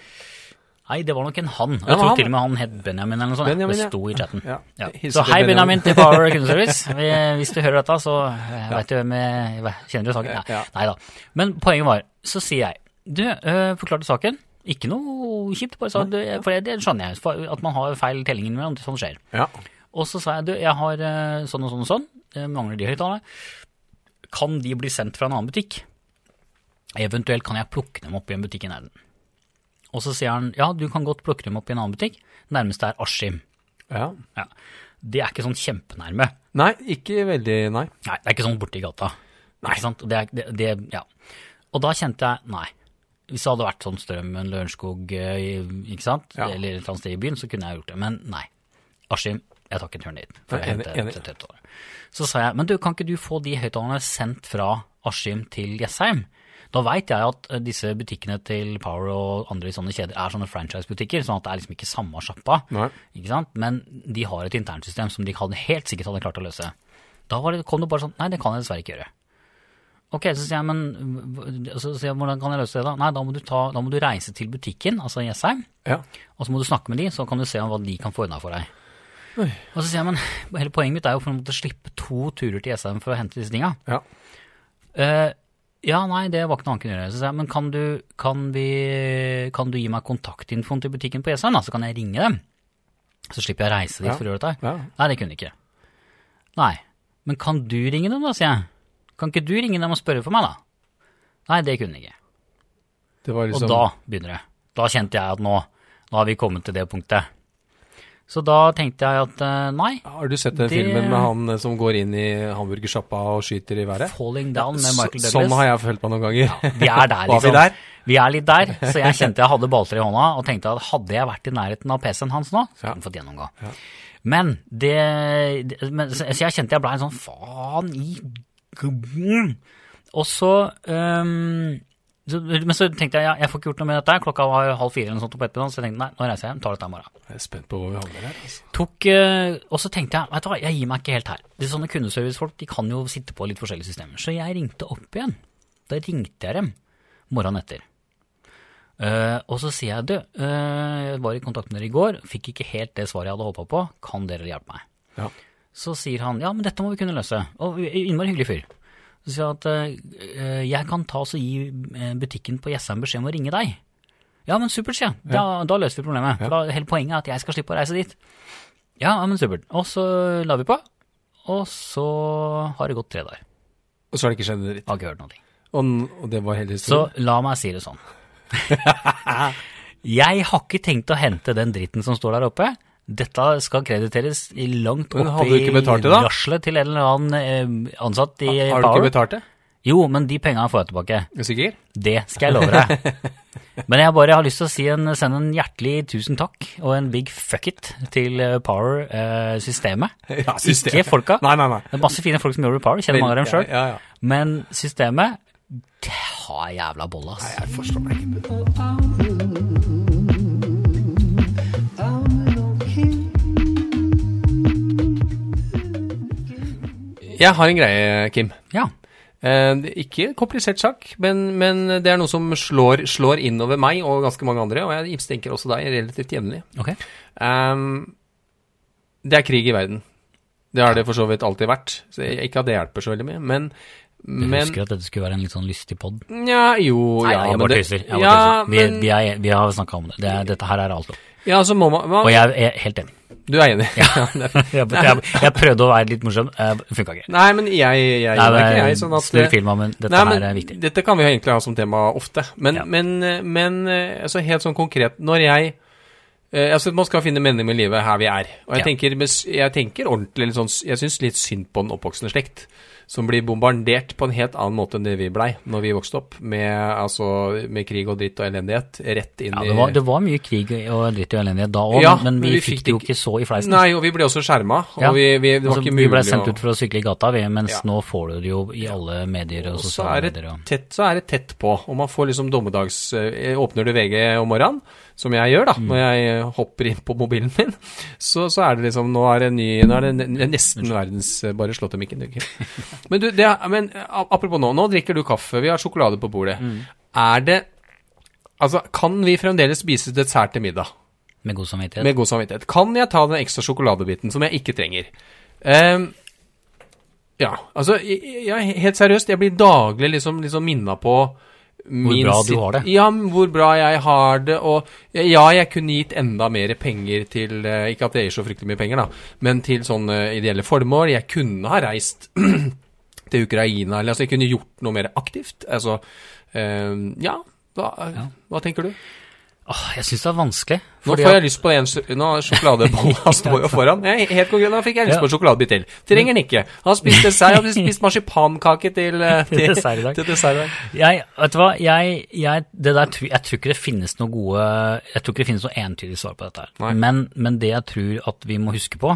Speaker 1: Nei, det var nok en han. Jeg
Speaker 2: Ja, men
Speaker 1: tror
Speaker 2: han-
Speaker 1: til og med han het Benjamin eller noe sånt.
Speaker 2: Benjamin, ja.
Speaker 1: det sto i chatten.
Speaker 2: Ja.
Speaker 1: Ja.
Speaker 2: Hilser
Speaker 1: Så
Speaker 2: til
Speaker 1: hei,
Speaker 2: Benjamin.
Speaker 1: Benjamin til Power Kundeservice. Vi, hvis du hører dette, så eh, vet du hvem jeg hva- kjenner du saken.
Speaker 2: Ja.
Speaker 1: Nei, da. Men poenget var, så sier jeg Du, øh, forklarte saken. Ikke noe kjipt, bare sa du, jeg- for det, det skjønner jeg. for At man har feil telling innimellom. Sånn skjer.
Speaker 2: Ja.
Speaker 1: Og så sa jeg du, jeg har eh, sånn og sånn og sånn, eh, mangler de høyttalerne. Kan de bli sendt fra en annen butikk? Eventuelt kan jeg plukke dem opp i en butikk i nærheten. Og så sier han ja, du kan godt plukke dem opp i en annen butikk, nærmeste er Askim.
Speaker 2: ja.
Speaker 1: Ja. Det er ikke sånn kjempenærme.
Speaker 2: Nei, ikke veldig Nei.
Speaker 1: Nei, det er ikke sånn borti gata. Ikke sant? Det er, det, det, ja. Og da kjente jeg, nei. Hvis det hadde vært sånn Strømmen, Lørenskog, eh, i- ikke sant?
Speaker 2: Ja.
Speaker 1: Eller et eller annet sted i byen, så kunne jeg gjort det. Men nei. Askim, jeg tar ikke en turen dit. For
Speaker 2: Nei,
Speaker 1: jeg
Speaker 2: enig-
Speaker 1: henter
Speaker 2: enig.
Speaker 1: et høyttaler. Så sa jeg, men du, kan ikke du få de høyttalerne sendt fra Askim til Jessheim? Da veit jeg at eh, disse butikkene til Power og andre sånne kjeder er sånne franchise-butikker, sånn at det er liksom ikke samme sjappa.
Speaker 2: Nei.
Speaker 1: Ikke sant? Men de har et internsystem som de hadde, helt sikkert hadde klart å løse. Da var det, kom det bare sånn Nei, det kan jeg dessverre ikke gjøre. Ok, så sier jeg, men hv- så sier jeg, hvordan kan jeg løse det da? Nei, da må du, ta, da må du reise til butikken, altså Jessheim,
Speaker 2: Ja.
Speaker 1: og så må du snakke med de, så kan du se om hva de kan få unna for deg. Og så sier jeg, men hele poenget mitt er jo for å måtte slippe to turer til Jessheim for å hente disse tinga.
Speaker 2: Ja.
Speaker 1: Eh, ja, nei, det var ikke noe han kunne gjøre. Så sier jeg, men kan du, kan, vi, kan du gi meg kontaktinfoen til butikken på Jessheim, da, så kan jeg ringe dem? Så slipper jeg å reise dit
Speaker 2: Ja.
Speaker 1: for å gjøre dette. her.
Speaker 2: Ja.
Speaker 1: Nei, det kunne de ikke. Nei, men kan du ringe dem da, sier jeg. Kan ikke du ringe dem og spørre for meg da? Nei, det kunne de ikke.
Speaker 2: Det var
Speaker 1: Og
Speaker 2: liksom
Speaker 1: da begynner det. Da kjente jeg at nå, nå har vi kommet til det punktet. Så da tenkte jeg at eh, nei,
Speaker 2: Har du sett den
Speaker 1: Det-
Speaker 2: filmen med han eh, som går inn i hamburgersjappa og skyter i været?
Speaker 1: Falling Down med Michael
Speaker 2: Så-
Speaker 1: Douglas.
Speaker 2: Sånn har jeg følt meg noen ganger.
Speaker 1: Vi er der,
Speaker 2: Var vi
Speaker 1: liksom.
Speaker 2: der?
Speaker 1: Vi er litt der, så jeg kjente jeg hadde balltre i hånda og tenkte at hadde jeg vært i nærheten av PC-en hans nå,
Speaker 2: Ja.
Speaker 1: så hadde han fått gjennomgå. Men det, det- men, Så så jeg kjente jeg ble en sånn faen i gubben. Og så, øhm, så Men så tenkte jeg ja, jeg får ikke gjort noe med dette, her. klokka var halv fire eller noe sånt på ettermiddagen, så jeg tenkte nei, nå reiser jeg hjem, tar dette i morgen
Speaker 2: Jeg er spent på hvor vi havner her. Altså.
Speaker 1: tok, eh, og så tenkte jeg, vet du hva, jeg gir meg ikke helt her. De sånne kundeservicefolk, de kan jo sitte på litt forskjellige systemer. Så jeg ringte opp igjen. Da ringte jeg dem morgenen etter. Eh, og så sier jeg, du, eh, jeg var i kontakt med dere i går, fikk ikke helt det svaret jeg hadde håpet på, kan dere hjelpe meg?
Speaker 2: Ja.
Speaker 1: Så sier han, ja, men dette må vi kunne løse. Og innmari hyggelig fyr. Så sier han at eh, jeg kan ta oss og gi eh, butikken på Jessheim beskjed om å ringe deg. Ja, men supert, sier jeg. Da, da løser vi problemet. For da, hele poenget er at jeg skal slippe å reise dit. Ja, ja, men supert. Og så la vi på, og så har det gått tre dager.
Speaker 2: Og så har det ikke skjedd en dritt.
Speaker 1: Har ikke hørt noe.
Speaker 2: Og, n- og det var hele
Speaker 1: Så
Speaker 2: historien.
Speaker 1: la meg si det sånn. Jeg har ikke tenkt å hente den dritten som står der oppe. Dette skal krediteres i langt
Speaker 2: Men hadde du
Speaker 1: oppi
Speaker 2: ikke betalt det da?
Speaker 1: raslet til en eller annen eh, ansatt i
Speaker 2: Har du ikke
Speaker 1: Power.
Speaker 2: betalt det?
Speaker 1: Jo, men de pengene får jeg tilbake.
Speaker 2: Er du sikker?
Speaker 1: Det skal jeg love deg. Men jeg bare har lyst til å si en, sende en hjertelig tusen takk og en big fuck it til eh, Power-systemet.
Speaker 2: Ja,
Speaker 1: Ikke folka.
Speaker 2: Nei, nei, nei.
Speaker 1: Det er masse fine folk som jobber i Power, kjenner mange av dem sjøl.
Speaker 2: Ja, ja, ja.
Speaker 1: Men systemet det har jævla bolle, ass.
Speaker 2: Jeg forstår meg ikke. Jeg har en greie, Kim.
Speaker 1: Ja.
Speaker 2: Eh, ikke komplisert sak, men, men det er noe som slår, slår inn over meg og ganske mange andre, og jeg mistenker også deg relativt jevnlig.
Speaker 1: Ok.
Speaker 2: Ehm, det er krig i verden. Det har det for så vidt alltid vært. Så jeg, ikke at det hjelper så veldig mye, men,
Speaker 1: Jeg
Speaker 2: men
Speaker 1: husker at dette skulle være en litt sånn lystig pod.
Speaker 2: Nja, jo
Speaker 1: Nei,
Speaker 2: ja,
Speaker 1: jeg
Speaker 2: men
Speaker 1: bare
Speaker 2: det-
Speaker 1: tøyser. Jeg bare
Speaker 2: Ja,
Speaker 1: tøyser. Vi,
Speaker 2: men-
Speaker 1: vi, er, vi har snakka om det. det er, dette her er alt.
Speaker 2: Ja, så må man,
Speaker 1: Og
Speaker 2: man
Speaker 1: jeg er helt enig.
Speaker 2: Du er enig? Ja, det er fint.
Speaker 1: Jeg, jeg, jeg prøvde å være litt morsom, det funka ikke.
Speaker 2: Nei, men jeg, jeg, jeg
Speaker 1: Nei,
Speaker 2: gjør det ikke,
Speaker 1: men
Speaker 2: jeg. Sånn at
Speaker 1: Snurr filma, men dette
Speaker 2: Nei, men
Speaker 1: her er viktig.
Speaker 2: Dette kan vi jo egentlig ha som tema ofte. Men,
Speaker 1: Ja.
Speaker 2: men, men eh, altså helt sånn konkret Når jeg eh, altså Man skal finne mening med livet her vi er. Og jeg,
Speaker 1: Ja.
Speaker 2: tenker, med s- jeg tenker ordentlig litt sånn s- Jeg syns litt synd på den oppvoksende slekt. Som blir bombardert på en helt annen måte enn det vi blei når vi vokste opp. Med, altså, med krig og dritt og elendighet rett inn
Speaker 1: Ja,
Speaker 2: i
Speaker 1: det, var, det var mye krig og dritt og elendighet da òg,
Speaker 2: Ja,
Speaker 1: men vi,
Speaker 2: men vi
Speaker 1: fikk
Speaker 2: fikk
Speaker 1: det jo
Speaker 2: ikke-
Speaker 1: ikke så i fleisen.
Speaker 2: Nei, og vi ble også skjerma. Og
Speaker 1: Ja.
Speaker 2: vi, vi, det var
Speaker 1: Altså,
Speaker 2: ikke
Speaker 1: vi
Speaker 2: mulig
Speaker 1: ble sendt
Speaker 2: å-
Speaker 1: ut for å sykle i gata, vi, mens
Speaker 2: Ja.
Speaker 1: nå får du det jo i alle medier og
Speaker 2: Og så
Speaker 1: sosiale
Speaker 2: er det
Speaker 1: medier. Og.
Speaker 2: tett, så er det tett på. Og man får liksom dommedags eh, Åpner du VG om morgenen, som jeg gjør da,
Speaker 1: Mm.
Speaker 2: når jeg eh, hopper inn på mobilen min, så, så er det liksom Nå er det ny Nå er det ne- ne- nesten verdens eh, Bare slå til mikken, du. Kim. Men du, det er, men eh, apropos nå. Nå drikker du kaffe, vi har sjokolade på bordet.
Speaker 1: Mm.
Speaker 2: Er det Altså, kan vi fremdeles spise dessert til middag?
Speaker 1: Med god samvittighet.
Speaker 2: Med god samvittighet. Kan jeg ta den ekstra sjokoladebiten som jeg ikke trenger? Ehm, ja, altså, jeg, jeg, helt seriøst, jeg blir daglig liksom, liksom minna på min
Speaker 1: bra du
Speaker 2: sit-
Speaker 1: har det.
Speaker 2: Ja, men hvor bra jeg har det, og ja, jeg kunne gitt enda mer penger til eh, Ikke at det gir så fryktelig mye penger, da, men til sånne ideelle formål. Jeg kunne ha reist til Ukraina, eller altså, jeg kunne gjort noe mer aktivt. Altså, ehm, ja, hva, hva tenker du?
Speaker 1: Åh, jeg syns det er vanskelig.
Speaker 2: Nå
Speaker 1: fordi
Speaker 2: får
Speaker 1: at-
Speaker 2: jeg lyst på en sj- Nå sjokoladebolla står jo foran. Jeg, helt konkret, nå fikk jeg lyst på en sjokoladebit til. Trenger den ikke. Han spiste seg, han spiste marsipankake til, eh,
Speaker 1: Til dessert i dag.
Speaker 2: Til dessert i dag.
Speaker 1: Jeg, vet du hva, jeg, jeg, det der, tru- jeg tror ikke det finnes noe gode Jeg tror ikke det finnes noe entydig svar på dette
Speaker 2: Nei.
Speaker 1: her. Men, men det jeg tror at vi må huske på,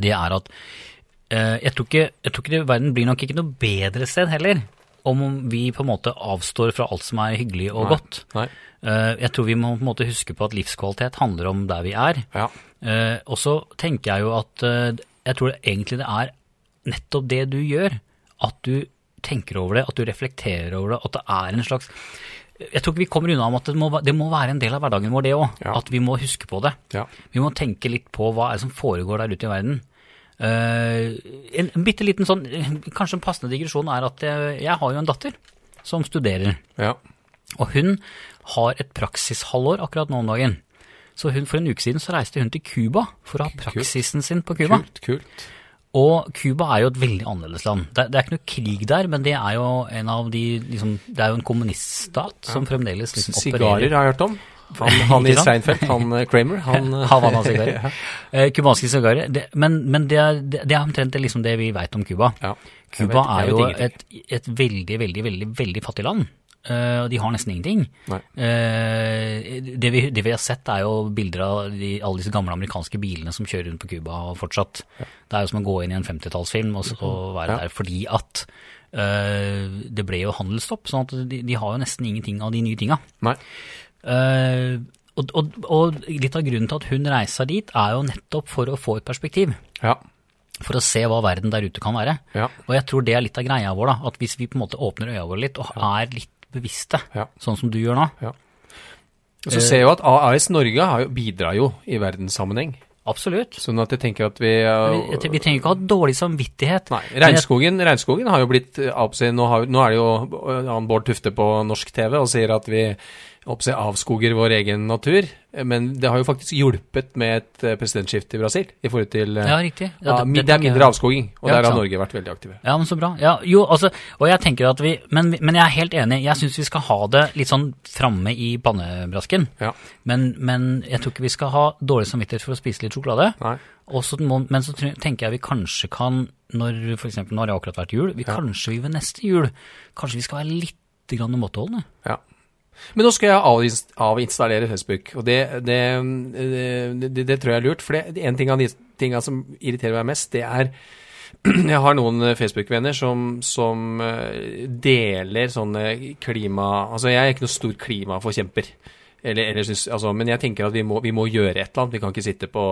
Speaker 1: det er at eh, jeg, tror ikke, jeg tror ikke det, verden blir nok ikke noe bedre sted heller om vi på en måte avstår fra alt som er hyggelig og godt.
Speaker 2: Nei.
Speaker 1: Eh, jeg tror vi må på en måte huske på at livskvalitet handler om der vi er.
Speaker 2: Ja.
Speaker 1: Eh, og så tenker jeg jo at eh, jeg tror det, egentlig det er nettopp det du gjør, at du tenker over det, at du reflekterer over det, at det er en slags Jeg tror ikke vi kommer unna om at det må, væ- det må være en del av hverdagen vår, det òg.
Speaker 2: Ja.
Speaker 1: At vi må huske på det.
Speaker 2: Ja.
Speaker 1: Vi må tenke litt på hva er det som foregår der ute i verden. Eh, en, en bitte liten sånn, kanskje en passende digresjon er at jeg, jeg har jo en datter som studerer.
Speaker 2: Ja.
Speaker 1: Og hun har et praksishalvår akkurat nå om dagen. Så hun, for en uke siden så reiste hun til Cuba for å ha praksisen sin på Cuba.
Speaker 2: Kult, kult.
Speaker 1: Og Cuba er jo et veldig annerledes land. Det, det er ikke noe krig der, men det er jo en av de liksom, Det er jo en kommuniststat som fremdeles liksom,
Speaker 2: Sigarer
Speaker 1: opererer
Speaker 2: har jeg hørt om. Han, han i
Speaker 1: Ikke sant?
Speaker 2: Seinfeld, han eh, Kramer, han eh,
Speaker 1: Havana-sigarer. Eh, Cubanske sigarer. Det- Men, men det, er, det er omtrent det, liksom, det vi veit om Cuba.
Speaker 2: Ja. Jeg vet-
Speaker 1: Cuba
Speaker 2: jeg
Speaker 1: er
Speaker 2: vet
Speaker 1: jo
Speaker 2: ingenting.
Speaker 1: et, et veldig, veldig, veldig, veldig fattig land. eh, Og de har nesten ingenting.
Speaker 2: Nei.
Speaker 1: Eh, det, vi, det vi har sett er jo bilder av de, alle disse gamle amerikanske bilene som kjører rundt på Cuba og fortsatt. Det er jo som å gå inn i en 50-tallsfilm og, s- og være
Speaker 2: Mhm. Ja.
Speaker 1: der fordi at eh, det ble jo handelsstopp, sånn at de, de har jo nesten ingenting av de nye tinga.
Speaker 2: Nei.
Speaker 1: Eh, og, og, og litt av grunnen til at hun reiser dit er jo nettopp for å få et perspektiv.
Speaker 2: Ja.
Speaker 1: For å se hva verden der ute kan være.
Speaker 2: Ja.
Speaker 1: Og jeg tror det er litt av greia vår, da. At hvis vi på en måte åpner øya våre litt og er litt bevisste,
Speaker 2: Ja.
Speaker 1: sånn som du gjør nå,
Speaker 2: Og så
Speaker 1: Eh.
Speaker 2: ser jeg jo at AAS Norge har jo, bidrar jo i verdenssammenheng.
Speaker 1: absolutt.
Speaker 2: Sånn at jeg tenker at vi
Speaker 1: Vi,
Speaker 2: eh,
Speaker 1: vi trenger ikke ha dårlig samvittighet.
Speaker 2: Nei,
Speaker 1: Men jeg-
Speaker 2: regnskogen, regnskogen har jo blitt eh, av- si, nå, har, nå er det jo eh, han Bård Tufte på norsk TV og sier at vi håper jeg, avskoger vår egen natur. Eh, Men det har jo faktisk hjulpet med et eh, presidentskifte i Brasil. i forhold til... eh,
Speaker 1: Ja, riktig. Ja,
Speaker 2: ja,
Speaker 1: det-
Speaker 2: mi-
Speaker 1: det
Speaker 2: det er
Speaker 1: tenker jeg.
Speaker 2: mindre avskoging, og der
Speaker 1: Ja, ikke
Speaker 2: har
Speaker 1: sant.
Speaker 2: Norge vært veldig aktive.
Speaker 1: Ja, men så bra. Ja, jo, altså, og jeg tenker at vi, men, men jeg er helt enig, jeg syns vi skal ha det litt sånn framme i pannebrasken.
Speaker 2: Ja.
Speaker 1: Men, men jeg tror ikke vi skal ha dårlig samvittighet for å spise litt sjokolade.
Speaker 2: Nei.
Speaker 1: Og så må, men så tr- tenker jeg vi kanskje kan, når for eksempel, nå har det akkurat vært jul, vi kanskje vi ved neste jul, kanskje vi skal være litt grann måteholdende.
Speaker 2: Ja. Men nå skal jeg avinst- avinstallere Facebook, og det, det, det, det, det tror jeg er lurt. For det, en ting av de tinga som irriterer meg mest, det er Jeg har noen eh, Facebook-venner som, som eh, deler sånne klima... Altså, jeg er ikke noe stor klimaforkjemper. Eller, eller synes, altså, men jeg tenker at vi må, vi må gjøre et eller annet. Vi kan ikke sitte på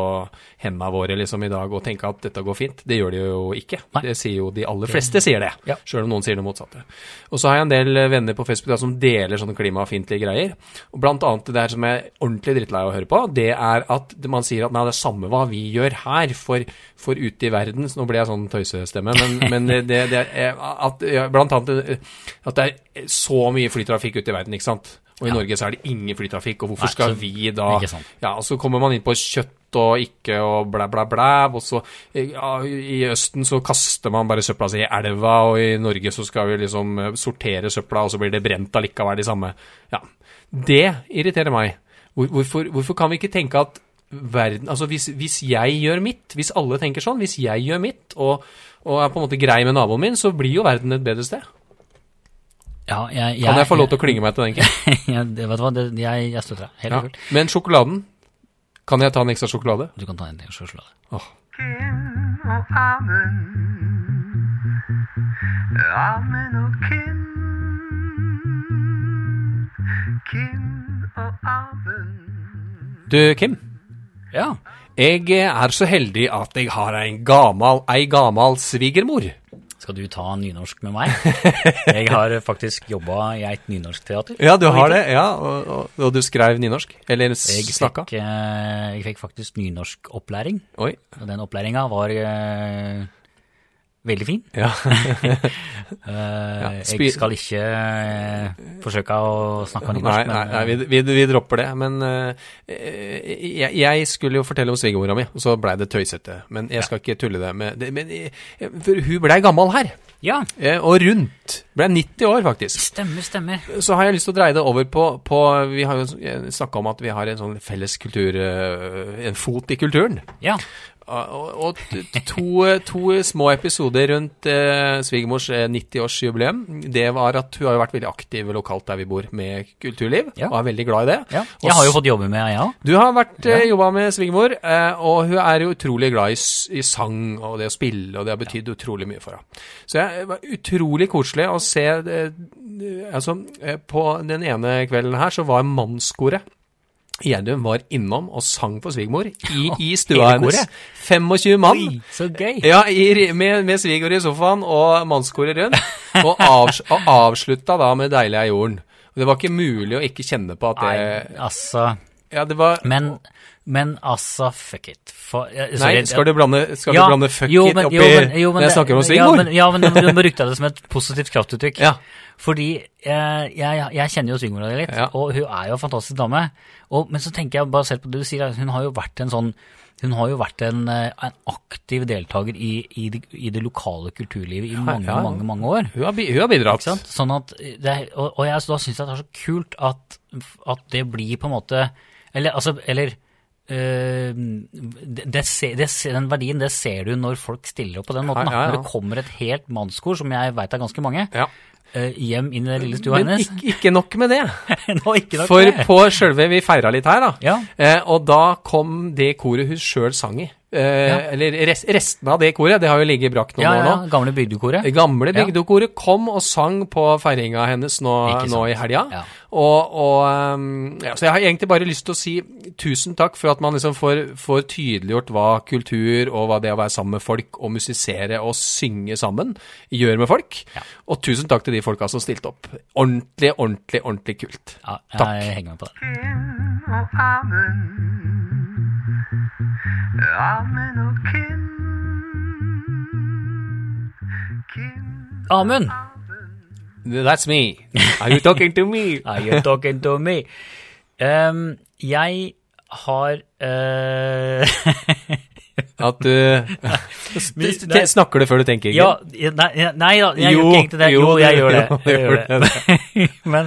Speaker 2: hendene våre liksom, i dag og tenke at dette går fint. Det gjør det jo ikke.
Speaker 1: Nei.
Speaker 2: Det sier jo de aller fleste sier det.
Speaker 1: Ja.
Speaker 2: Sjøl om noen sier det motsatte. Og så har jeg en del eh, venner på Facebook da, som deler sånne klimafiendtlige greier. Og blant annet det der som jeg er ordentlig drittlei av å høre på, det er at man sier at nei, det er samme hva vi gjør her, for, for ute i verden så Nå ble jeg sånn tøysestemme, men, men det, det er eh, at, ja, blant annet eh, at det er så mye flytrafikk ute i verden, ikke sant? Og i Norge så er det ingen flytrafikk, og hvorfor
Speaker 1: Nei,
Speaker 2: skal
Speaker 1: så-
Speaker 2: vi da
Speaker 1: ikke sant.
Speaker 2: ja, og så kommer man inn på kjøtt og ikke og blæ, blæ, blæ. Og så eh, ja, i Østen så kaster man bare søpla si i elva, og i Norge så skal vi liksom eh, sortere søpla, og så blir det brent allikevel, de samme. Ja. Det irriterer meg. Hvor, hvorfor, hvorfor kan vi ikke tenke at verden Altså hvis, hvis jeg gjør mitt, hvis alle tenker sånn, hvis jeg gjør mitt og, og er på en måte grei med naboen min, så blir jo verden et bedre sted.
Speaker 1: Ja, jeg,
Speaker 2: Kan jeg få lov til å klynge meg til den, Kim?
Speaker 1: jeg, det- vet du hva, det, jeg, jeg støtter deg. Helt
Speaker 2: Ja.
Speaker 1: kult.
Speaker 2: Men sjokoladen? Kan jeg ta en ekstra sjokolade?
Speaker 1: Du kan ta en ting og slå det.
Speaker 2: Åh.
Speaker 3: Kin og amen. Amen og kin. Kin og amen.
Speaker 2: Du, Kim?
Speaker 1: Ja.
Speaker 2: Jeg er så heldig at jeg har en gamal, ei gamal svigermor.
Speaker 1: Skal du ta nynorsk med meg? Jeg har faktisk jobba i et nynorskteater.
Speaker 2: Ja, du har det, ja, og, og, og du skrev nynorsk? Eller s-
Speaker 1: Jeg
Speaker 2: snakka?
Speaker 1: fikk, eh, jeg fikk faktisk nynorskopplæring,
Speaker 2: Oi.
Speaker 1: og den opplæringa var eh, veldig fin.
Speaker 2: Ja.
Speaker 1: Eh,
Speaker 2: spy-
Speaker 1: jeg skal ikke eh, forsøke å snakke
Speaker 2: Nei,
Speaker 1: nynorsk,
Speaker 2: nei,
Speaker 1: men,
Speaker 2: nei vi, vi, vi dropper det. Men eh, jeg, jeg skulle jo fortelle om svigermora mi, og så blei det tøysete. Men jeg skal ikke tulle det med det. Men eh, for hun blei gammal her,
Speaker 1: Ja,
Speaker 2: eh, og rundt. Blei 90 år, faktisk.
Speaker 1: stemmer, stemmer.
Speaker 2: så har jeg lyst til å dreie det over på, på Vi har jo snakka om at vi har en sånn felles kultur eh, En fot i kulturen.
Speaker 1: Ja.
Speaker 2: Og, og t- to, to små episoder rundt eh, svigermors eh, 90-årsjubileum. Det var at hun har jo vært veldig aktiv lokalt der vi bor, med kulturliv.
Speaker 1: Ja.
Speaker 2: Og er veldig glad i det.
Speaker 1: ja.
Speaker 2: Og
Speaker 1: Jeg har jo fått jobbe med jeg ja. òg.
Speaker 2: du har vært eh, jobba med svigermor, eh, og hun er jo utrolig glad i, s- i sang og det å spille, og det har betydd utrolig mye for henne. Så jeg det var utrolig koselig å se eh, Altså, eh, på den ene kvelden her så var mannskoret i Gjerdum var innom og sang for svigermor i, i stua
Speaker 1: hele
Speaker 2: hennes.
Speaker 1: koret?
Speaker 2: 25 mann.
Speaker 1: Så gøy.
Speaker 2: Ja, i, med, med svigermor i sofaen og mannskoret rundt, og, avs, og avslutta da med 'Deilig er jorden'. Og Det var ikke mulig å ikke kjenne på at det
Speaker 1: Nei, altså
Speaker 2: Ja, det var
Speaker 1: Men, men altså, fuck it. For, jeg-
Speaker 2: Nei,
Speaker 1: sorry,
Speaker 2: skal du blande, skal
Speaker 1: Ja,
Speaker 2: du blande fuck
Speaker 1: jo,
Speaker 2: it
Speaker 1: men-
Speaker 2: oppi
Speaker 1: jo, men- jo, men
Speaker 2: når jeg
Speaker 1: det-
Speaker 2: snakker om
Speaker 1: Ja,
Speaker 2: svigermor?
Speaker 1: men, ja, men du, du brukte det som et positivt kraftuttrykk.
Speaker 2: Ja.
Speaker 1: Fordi eh, jeg, jeg kjenner jo svigermora di litt,
Speaker 2: Ja.
Speaker 1: og hun er jo en fantastisk dame. Og, men så tenker jeg, basert på det du sier, at hun har jo vært en sånn hun har jo vært en, eh, en aktiv deltaker i, i, det, i det lokale kulturlivet i mange,
Speaker 2: ja.
Speaker 1: mange, mange år.
Speaker 2: hun, har, bi- hun har bidratt.
Speaker 1: Ikke sant? Sånn at det, er- og, og jeg da syns jeg det er så kult at, at det blir på en måte Eller altså Eller øh, det, det ser- det ser- Den verdien, det ser du når folk stiller opp på den måten.
Speaker 2: Ja,
Speaker 1: da.
Speaker 2: ja, ja.
Speaker 1: Når det kommer et helt mannskor, som jeg veit er ganske mange,
Speaker 2: Ja.
Speaker 1: øh, hjem inn i den lille stua
Speaker 2: Men
Speaker 1: hennes.
Speaker 2: ikke, ikke nok med det.
Speaker 1: Nå, ikke nok
Speaker 2: For
Speaker 1: det.
Speaker 2: på sjølve Vi feira litt her, da.
Speaker 1: Ja.
Speaker 2: Eh, og da kom det koret hun sjøl sang i. Eh, Eller res, restene av det koret. Det har jo ligget brakk noen
Speaker 1: ja,
Speaker 2: år
Speaker 1: ja,
Speaker 2: nå.
Speaker 1: Gamle bygdekoret.
Speaker 2: Det gamle bygdekoret kom og sang på feiringa hennes nå,
Speaker 1: Ikke sant.
Speaker 2: nå i helga.
Speaker 1: Ja.
Speaker 2: Og, og um, ja, Så jeg har egentlig bare lyst til å si tusen takk for at man liksom får, får tydeliggjort hva kultur og hva det å være sammen med folk og musisere og synge sammen gjør med folk. Og tusen takk til de folka som stilte opp. Ordentlig, ordentlig, ordentlig kult.
Speaker 1: Ja, jeg
Speaker 2: Takk.
Speaker 1: henger med på det.
Speaker 3: Kin og amen. Amen og kin. Kin
Speaker 1: Amund,
Speaker 3: amen.
Speaker 2: That's me. Are you talking to me?
Speaker 1: Are you talking to me? Ehm, jeg har eh,
Speaker 2: At du
Speaker 1: Nei.
Speaker 2: Snakker du før du tenker?
Speaker 1: Ja, nei, nei da, jeg
Speaker 2: Jo,
Speaker 1: gjør ikke egentlig det. Jo,
Speaker 2: jo,
Speaker 1: jeg
Speaker 2: du-
Speaker 1: gjør det.
Speaker 2: jo, du
Speaker 1: Jeg gjør
Speaker 2: gjorde
Speaker 1: det. men,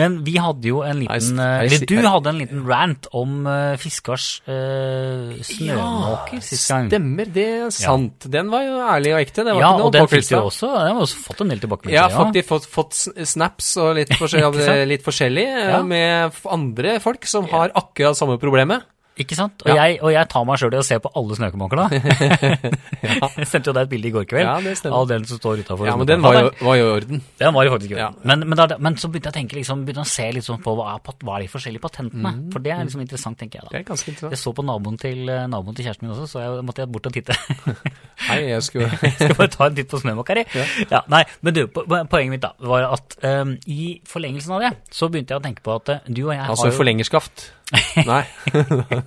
Speaker 1: men vi hadde jo en liten eh,
Speaker 2: I
Speaker 1: Eller
Speaker 2: see-
Speaker 1: du
Speaker 2: I-
Speaker 1: hadde en liten rant om eh, fiskars eh, snømåker sist gang.
Speaker 2: Stemmer, det er sant. Den var jo ærlig og ekte. Det var
Speaker 1: Ja,
Speaker 2: ikke noe
Speaker 1: og den fikk du
Speaker 2: påklistret.
Speaker 1: også. Den har også fått en del tilbakemeldinger.
Speaker 2: Jeg har
Speaker 1: ja.
Speaker 2: faktisk fått, fått sn- snaps og litt forskjellig,
Speaker 1: Ikke sant?
Speaker 2: litt forskjellig eh,
Speaker 1: Ja.
Speaker 2: med f- andre folk som har akkurat samme problemet.
Speaker 1: Ikke sant? Og,
Speaker 2: Ja.
Speaker 1: jeg, og jeg tar meg sjøl i å se på alle snøkemåkene. Jeg sendte jo deg et bilde i går kveld
Speaker 2: Ja, det stemmer.
Speaker 1: av den som står utafor.
Speaker 2: Ja, men den var jo, var jo i orden.
Speaker 1: Den var jo faktisk gøy.
Speaker 2: Ja.
Speaker 1: Men, men, da, men så begynte jeg å tenke liksom, begynte å se litt sånn på hva er, pat- hva er de forskjellige patentene.
Speaker 2: Mm.
Speaker 1: For det er liksom interessant, tenker jeg da.
Speaker 2: Det er ganske
Speaker 1: Jeg
Speaker 2: interessant.
Speaker 1: så på naboen til, eh, naboen til kjæresten min også, så jeg måtte jeg bort og titte.
Speaker 2: Hei, jeg skulle
Speaker 1: Skal bare ta en titt på snømåker, jeg. Ja, nei, men du, po- poenget mitt da, var at eh, i forlengelsen av det, så begynte jeg å tenke på at eh, du og jeg
Speaker 2: Altså
Speaker 1: har jo
Speaker 2: forlengerskaft. Nei.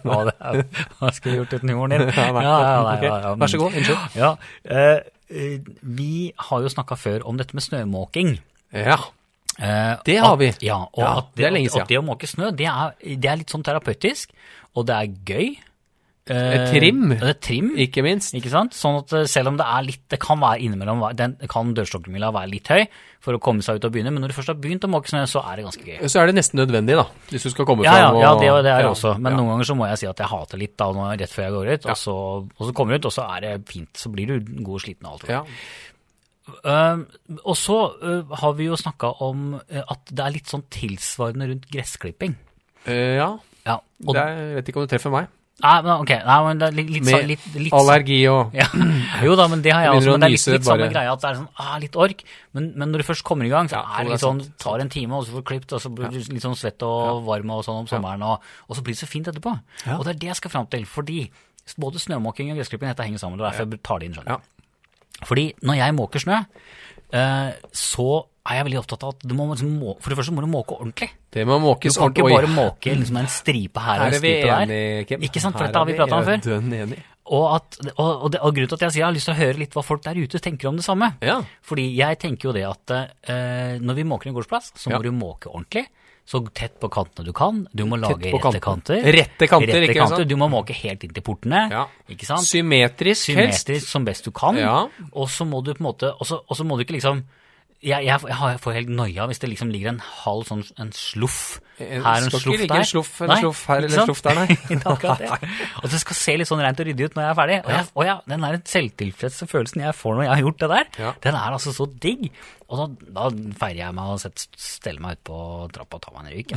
Speaker 1: Hva det er- hva skulle jeg gjort uten humoren din?
Speaker 2: Ja, nei.
Speaker 1: nei,
Speaker 2: Ok, Vær så god, unnskyld.
Speaker 1: Ja, eh, eh, vi har jo snakka før om dette med snømåking.
Speaker 2: Ja.
Speaker 1: Eh,
Speaker 2: Det har
Speaker 1: at,
Speaker 2: vi.
Speaker 1: Ja, og
Speaker 2: Ja,
Speaker 1: at, det,
Speaker 2: det er lenge siden.
Speaker 1: at det å måke snø, det er, det er litt sånn terapeutisk, og det er gøy. Eh,
Speaker 2: Et trim.
Speaker 1: Det er trim, ikke,
Speaker 2: Ikke minst.
Speaker 1: sant? Sånn at eh, selv om det er litt, det kan være innimellom, den kan dørstokkmila være litt høy for å komme seg ut og begynne, men når du først har begynt å måke snø, så er det ganske gøy.
Speaker 2: Så er det nesten nødvendig, da. Hvis du skal komme
Speaker 1: Ja, ja,
Speaker 2: fram. og-
Speaker 1: ja det, det er det også, men
Speaker 2: ja.
Speaker 1: noen ganger så må jeg si at jeg hater litt da, når, rett før jeg går ut,
Speaker 2: Ja.
Speaker 1: og, så, og så kommer jeg ut, og så er det fint, så blir du god og sliten og alt.
Speaker 2: Ja.
Speaker 1: Um, og så uh, har vi jo snakka om uh, at det er litt sånn tilsvarende rundt gressklipping.
Speaker 2: Eh, ja.
Speaker 1: Ja, og,
Speaker 2: Det er, jeg vet ikke om du treffer meg.
Speaker 1: nei, men, ok, nei, men det er litt, litt, sa-
Speaker 2: Med
Speaker 1: litt, litt
Speaker 2: Allergi og
Speaker 1: ja. Jo da, men det har jeg
Speaker 2: Begynner å
Speaker 1: også, men det er litt,
Speaker 2: nyse
Speaker 1: litt samme
Speaker 2: bare.
Speaker 1: greia at det er sånn, ah, litt ork, men, men når du først kommer i gang, så
Speaker 2: Ja,
Speaker 1: er det
Speaker 2: det
Speaker 1: litt
Speaker 2: er
Speaker 1: sånn, tar en time, og så får du klippet, og så blir du litt sånn svett og varm og sånn om sommeren, og, og så blir det så fint etterpå.
Speaker 2: Ja.
Speaker 1: Og det er det jeg skal fram til, fordi både snømåking og gressklipping, dette henger sammen, og derfor jeg tar det inn skjønner du.
Speaker 2: Ja.
Speaker 1: Fordi når jeg måker snø, eh, så er jeg veldig opptatt av at du må, liksom må, for det første må du måke ordentlig.
Speaker 2: Det må
Speaker 1: Du
Speaker 2: måkes
Speaker 1: kan ikke
Speaker 2: ordentlig. Sånn, Oi,
Speaker 1: bare måke liksom, en stripe her og
Speaker 2: Her
Speaker 1: en
Speaker 2: er vi
Speaker 1: stripe der.
Speaker 2: enige, Kim.
Speaker 1: Ikke sant, for
Speaker 2: Her
Speaker 1: dette har
Speaker 2: er
Speaker 1: vi pratet om før.
Speaker 2: dønn enige.
Speaker 1: Og, at, og, og, det, og grunnen til at jeg sier jeg har lyst til å høre litt hva folk der ute tenker om det samme.
Speaker 2: Ja.
Speaker 1: Fordi jeg tenker jo det at eh, når vi måker en gårdsplass, så må
Speaker 2: Ja.
Speaker 1: du måke ordentlig. Så tett på kantene du kan. Du må lage
Speaker 2: på
Speaker 1: rette
Speaker 2: kanten.
Speaker 1: kanter.
Speaker 2: Rette kanter, ikke sant?
Speaker 1: Du må måke helt inn til portene.
Speaker 2: Ja.
Speaker 1: Ikke sant?
Speaker 2: Symmetrisk, helst.
Speaker 1: Symmetrisk som best du kan.
Speaker 2: Ja.
Speaker 1: Og så må du på en måte Og så og så må du ikke liksom jeg, jeg, jeg har- får helt noia hvis det liksom ligger en halv sånn en sluff
Speaker 2: Eh,
Speaker 1: her og en
Speaker 2: skal ikke
Speaker 1: sluff
Speaker 2: ligge
Speaker 1: der.
Speaker 2: en sluff eller sluff her
Speaker 1: ikke
Speaker 2: eller
Speaker 1: sant?
Speaker 2: sluff der, nei.
Speaker 1: Det er akkurat det. og det skal se litt sånn rent og ryddig ut når jeg er ferdig. Og, jeg, og ja, den der selvtilfredse følelsen jeg får når jeg har gjort det der,
Speaker 2: Ja.
Speaker 1: den er altså så digg. Og da, da feirer jeg meg og setter, steller meg ut på trappa og tar meg en røyk.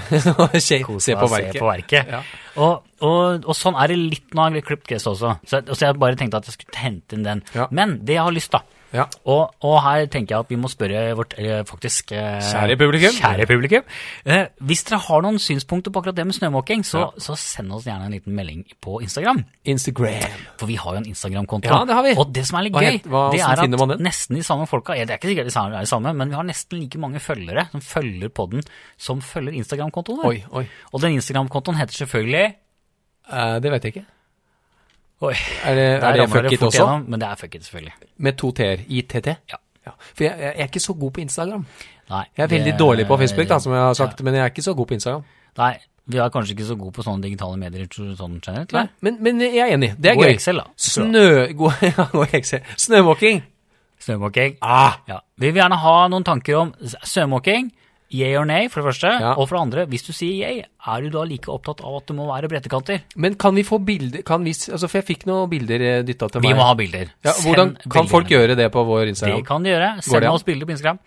Speaker 1: jeg.
Speaker 2: Se,
Speaker 1: Kos
Speaker 2: se
Speaker 1: meg
Speaker 2: på
Speaker 1: og
Speaker 2: verket.
Speaker 1: Se på verket.
Speaker 2: Ja.
Speaker 1: Og, og, og sånn er det litt nå, jeg har klippet gress også. Så, jeg- og så jeg bare tenkte at jeg skulle hente inn den.
Speaker 2: Ja.
Speaker 1: Men det jeg har lyst da,
Speaker 2: Ja.
Speaker 1: og, og her tenker jeg at vi må spørre vårt eh, faktisk eh,
Speaker 2: Kjære publikum.
Speaker 1: Kjære publikum. Eh, hvis dere har noen synspunkter på akkurat det med snømåking, så,
Speaker 2: Ja.
Speaker 1: så send oss gjerne en liten melding på Instagram.
Speaker 2: Instagram.
Speaker 1: For vi har jo en Instagram-konto.
Speaker 2: Ja, det har vi.
Speaker 1: Og det som er litt
Speaker 2: Hva
Speaker 1: gøy,
Speaker 2: het- hva-
Speaker 1: det
Speaker 2: hvordan
Speaker 1: er
Speaker 2: finner man
Speaker 1: at
Speaker 2: den?
Speaker 1: nesten de samme folka ja, Det er ikke sikkert de samme- er de samme, men vi har nesten like mange følgere som følger podden, som følger Instagram-kontoen vår.
Speaker 2: Oi, oi.
Speaker 1: Og den Instagram-kontoen heter selvfølgelig
Speaker 2: Eh, det vet jeg ikke.
Speaker 1: Oi,
Speaker 2: Er det,
Speaker 1: der
Speaker 2: er det
Speaker 1: ramler
Speaker 2: fuck it
Speaker 1: fort
Speaker 2: også?
Speaker 1: gjennom, men det er fuck it, selvfølgelig.
Speaker 2: Med to t-er. ITT?
Speaker 1: Ja.
Speaker 2: For jeg, jeg er ikke så god på Instagram.
Speaker 1: Nei,
Speaker 2: Jeg er veldig
Speaker 1: det-
Speaker 2: dårlig på Facebook, da, som jeg har sagt, men jeg er ikke så god på Instagram.
Speaker 1: Nei, vi er kanskje ikke så gode på sånne digitale medier sånn generelt, eller?
Speaker 2: Men, men jeg er enig. Det er
Speaker 1: God
Speaker 2: gøy.
Speaker 1: Excel, da.
Speaker 2: Snø... God, ja, god Excel. Snømåking.
Speaker 1: Snømåking.
Speaker 2: Ah!
Speaker 1: Ja. Vi vil gjerne ha noen tanker om s- snømåking. Yay or nay, for det første.
Speaker 2: Ja.
Speaker 1: Og for det andre, hvis du sier yay, er du da like opptatt av at det må være brettekanter?
Speaker 2: Men kan vi få bilder kan vi, s- altså For jeg fikk noen bilder dytta til meg.
Speaker 1: Vi må ha bilder.
Speaker 2: ja, hvordan
Speaker 1: Send
Speaker 2: kan folk
Speaker 1: bildene.
Speaker 2: gjøre det på vår Instagram?
Speaker 1: Det kan de gjøre.
Speaker 2: Går
Speaker 1: Send
Speaker 2: det an?
Speaker 1: oss bilder på Instagram.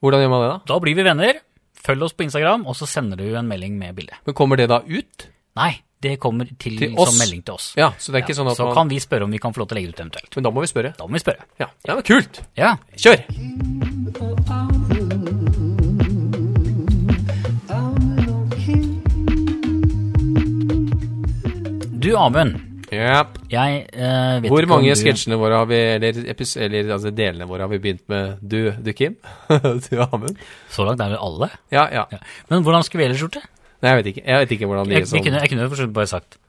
Speaker 2: Hvordan gjør man det, da?
Speaker 1: Da blir vi venner. Følg oss på Instagram, og så sender du en melding med bilde.
Speaker 2: Men Kommer det da ut?
Speaker 1: Nei, det kommer til,
Speaker 2: Til
Speaker 1: som
Speaker 2: oss?
Speaker 1: melding til oss.
Speaker 2: Ja, så det er ikke
Speaker 1: Ja,
Speaker 2: sånn at
Speaker 1: så
Speaker 2: man
Speaker 1: kan vi spørre om vi kan få lov til å legge det ut eventuelt.
Speaker 2: Men da må vi spørre.
Speaker 1: Da må vi spørre.
Speaker 2: Ja, ja men kult!
Speaker 1: Ja.
Speaker 2: Kjør!
Speaker 1: Du, Amund.
Speaker 2: Yep.
Speaker 1: Jeg eh, vet
Speaker 2: Hvor
Speaker 1: ikke om
Speaker 2: mange
Speaker 1: du...
Speaker 2: sketsjene våre har vi, eller, epis- eller altså, delene våre har vi begynt med? Du, du Kim? du Amund?
Speaker 1: Så langt er vel alle.
Speaker 2: Ja, ja.
Speaker 1: Ja. Men hvordan skulle vi ellers gjort det?
Speaker 2: Nei, jeg vet ikke. Jeg vet ikke hvordan de
Speaker 1: Jeg, vi
Speaker 2: som-
Speaker 1: kunne, jeg kunne jo for så vidt bare sagt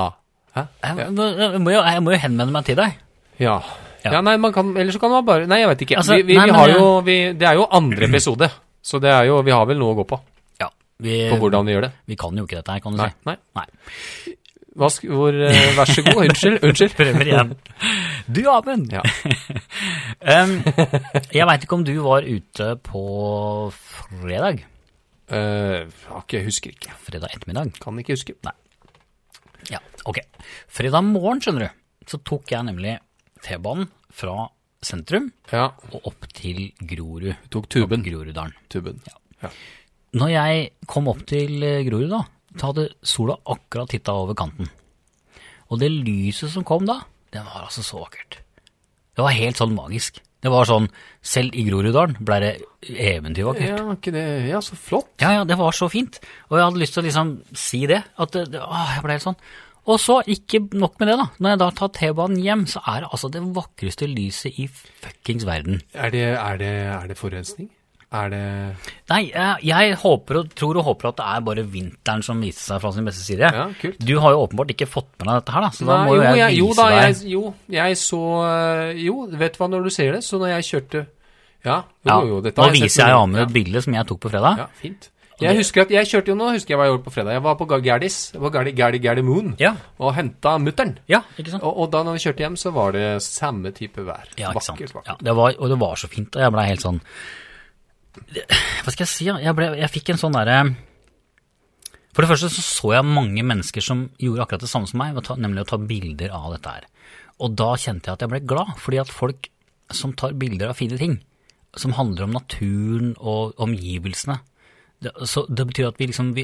Speaker 2: Ah. Hæ?
Speaker 1: jeg, må- jeg, må jo, jeg må jo henvende meg til deg.
Speaker 2: Ja.
Speaker 1: Ja.
Speaker 2: Ja, nei, man kan, Eller så kan man bare Nei, jeg veit ikke.
Speaker 1: Altså,
Speaker 2: vi, vi,
Speaker 1: nei,
Speaker 2: vi
Speaker 1: men
Speaker 2: har
Speaker 1: jeg-
Speaker 2: jo, vi, det er jo andre episode, så det er jo, vi har vel noe å gå på
Speaker 1: Ja, vi,
Speaker 2: på hvordan vi gjør det.
Speaker 1: vi kan jo ikke dette her, kan du
Speaker 2: Nei.
Speaker 1: si.
Speaker 2: nei.
Speaker 1: Eh, Nei.
Speaker 2: Hva sk- hvor, eh, vær så god. Unnskyld. Unnskyld.
Speaker 1: Prøver igjen. Du, Amund!
Speaker 2: Ja.
Speaker 1: Um, jeg veit ikke om du var ute på fredag?
Speaker 2: Eh, har ikke- jeg husker ikke.
Speaker 1: Fredag ettermiddag?
Speaker 2: Kan ikke huske.
Speaker 1: Ja, ok. Fredag morgen, skjønner du, så tok jeg nemlig T-banen fra sentrum
Speaker 2: Ja,
Speaker 1: og opp til Grorud.
Speaker 2: du tok tuben.
Speaker 1: Groruddalen.
Speaker 2: tuben. Ja.
Speaker 1: Når jeg kom opp til eh, Grorud, da, så hadde sola akkurat titta over kanten. Og det lyset som kom da, det var altså så vakkert. Det var helt sånn magisk. Det var sånn Selv i Groruddalen ble det eventyrvakkert.
Speaker 2: Ja, var ikke det Ja, så flott.
Speaker 1: Ja, ja, det var så fint. Og jeg hadde lyst til å liksom si det. At det, det, åh, jeg ble helt sånn. Og så, ikke nok med det, da. Når jeg da tar T-banen hjem, så er det altså det vakreste lyset i fuckings verden.
Speaker 2: Er det, er det, er det forurensning? Er det
Speaker 1: Nei, jeg, jeg håper og tror og håper at det er bare vinteren som viser seg fra sin beste side.
Speaker 2: Ja, kult.
Speaker 1: Du har jo åpenbart ikke fått med deg dette her, da. Så da
Speaker 2: Nei,
Speaker 1: må jo jeg
Speaker 2: jo,
Speaker 1: vise
Speaker 2: da, jeg,
Speaker 1: deg.
Speaker 2: jo, jeg så eh, Jo, vet du hva, når du ser det, så når jeg kjørte Ja, jo,
Speaker 1: Ja,
Speaker 2: jo, dette
Speaker 1: nå
Speaker 2: har jeg sett
Speaker 1: viser jeg
Speaker 2: noen-
Speaker 1: Amund et bilde som jeg tok på fredag.
Speaker 2: Ja, fint. Jeg husker at jeg kjørte jo nå, husker jeg hva jeg gjorde på fredag. Jeg var på Ga- Gerdis, jeg var Gerdi, Gerdi, Gerdi Moon,
Speaker 1: Ja.
Speaker 2: og henta mutter'n.
Speaker 1: Ja, ikke sant?
Speaker 2: Og, og da når vi kjørte hjem, så var det samme type vær.
Speaker 1: Ja, ikke sant.
Speaker 2: vakkert,
Speaker 1: Ja,
Speaker 2: vakkert.
Speaker 1: det var, og det var så fint, og jeg ble helt sånn Hva skal jeg si? da? Jeg, ble, jeg fikk en sånn derre For det første så så jeg mange mennesker som gjorde akkurat det samme som meg, ved å ta- nemlig å ta bilder av dette her. Og da kjente jeg at jeg ble glad, fordi at folk som tar bilder av fine ting, som handler om naturen og omgivelsene det, så det betyr at vi liksom vi,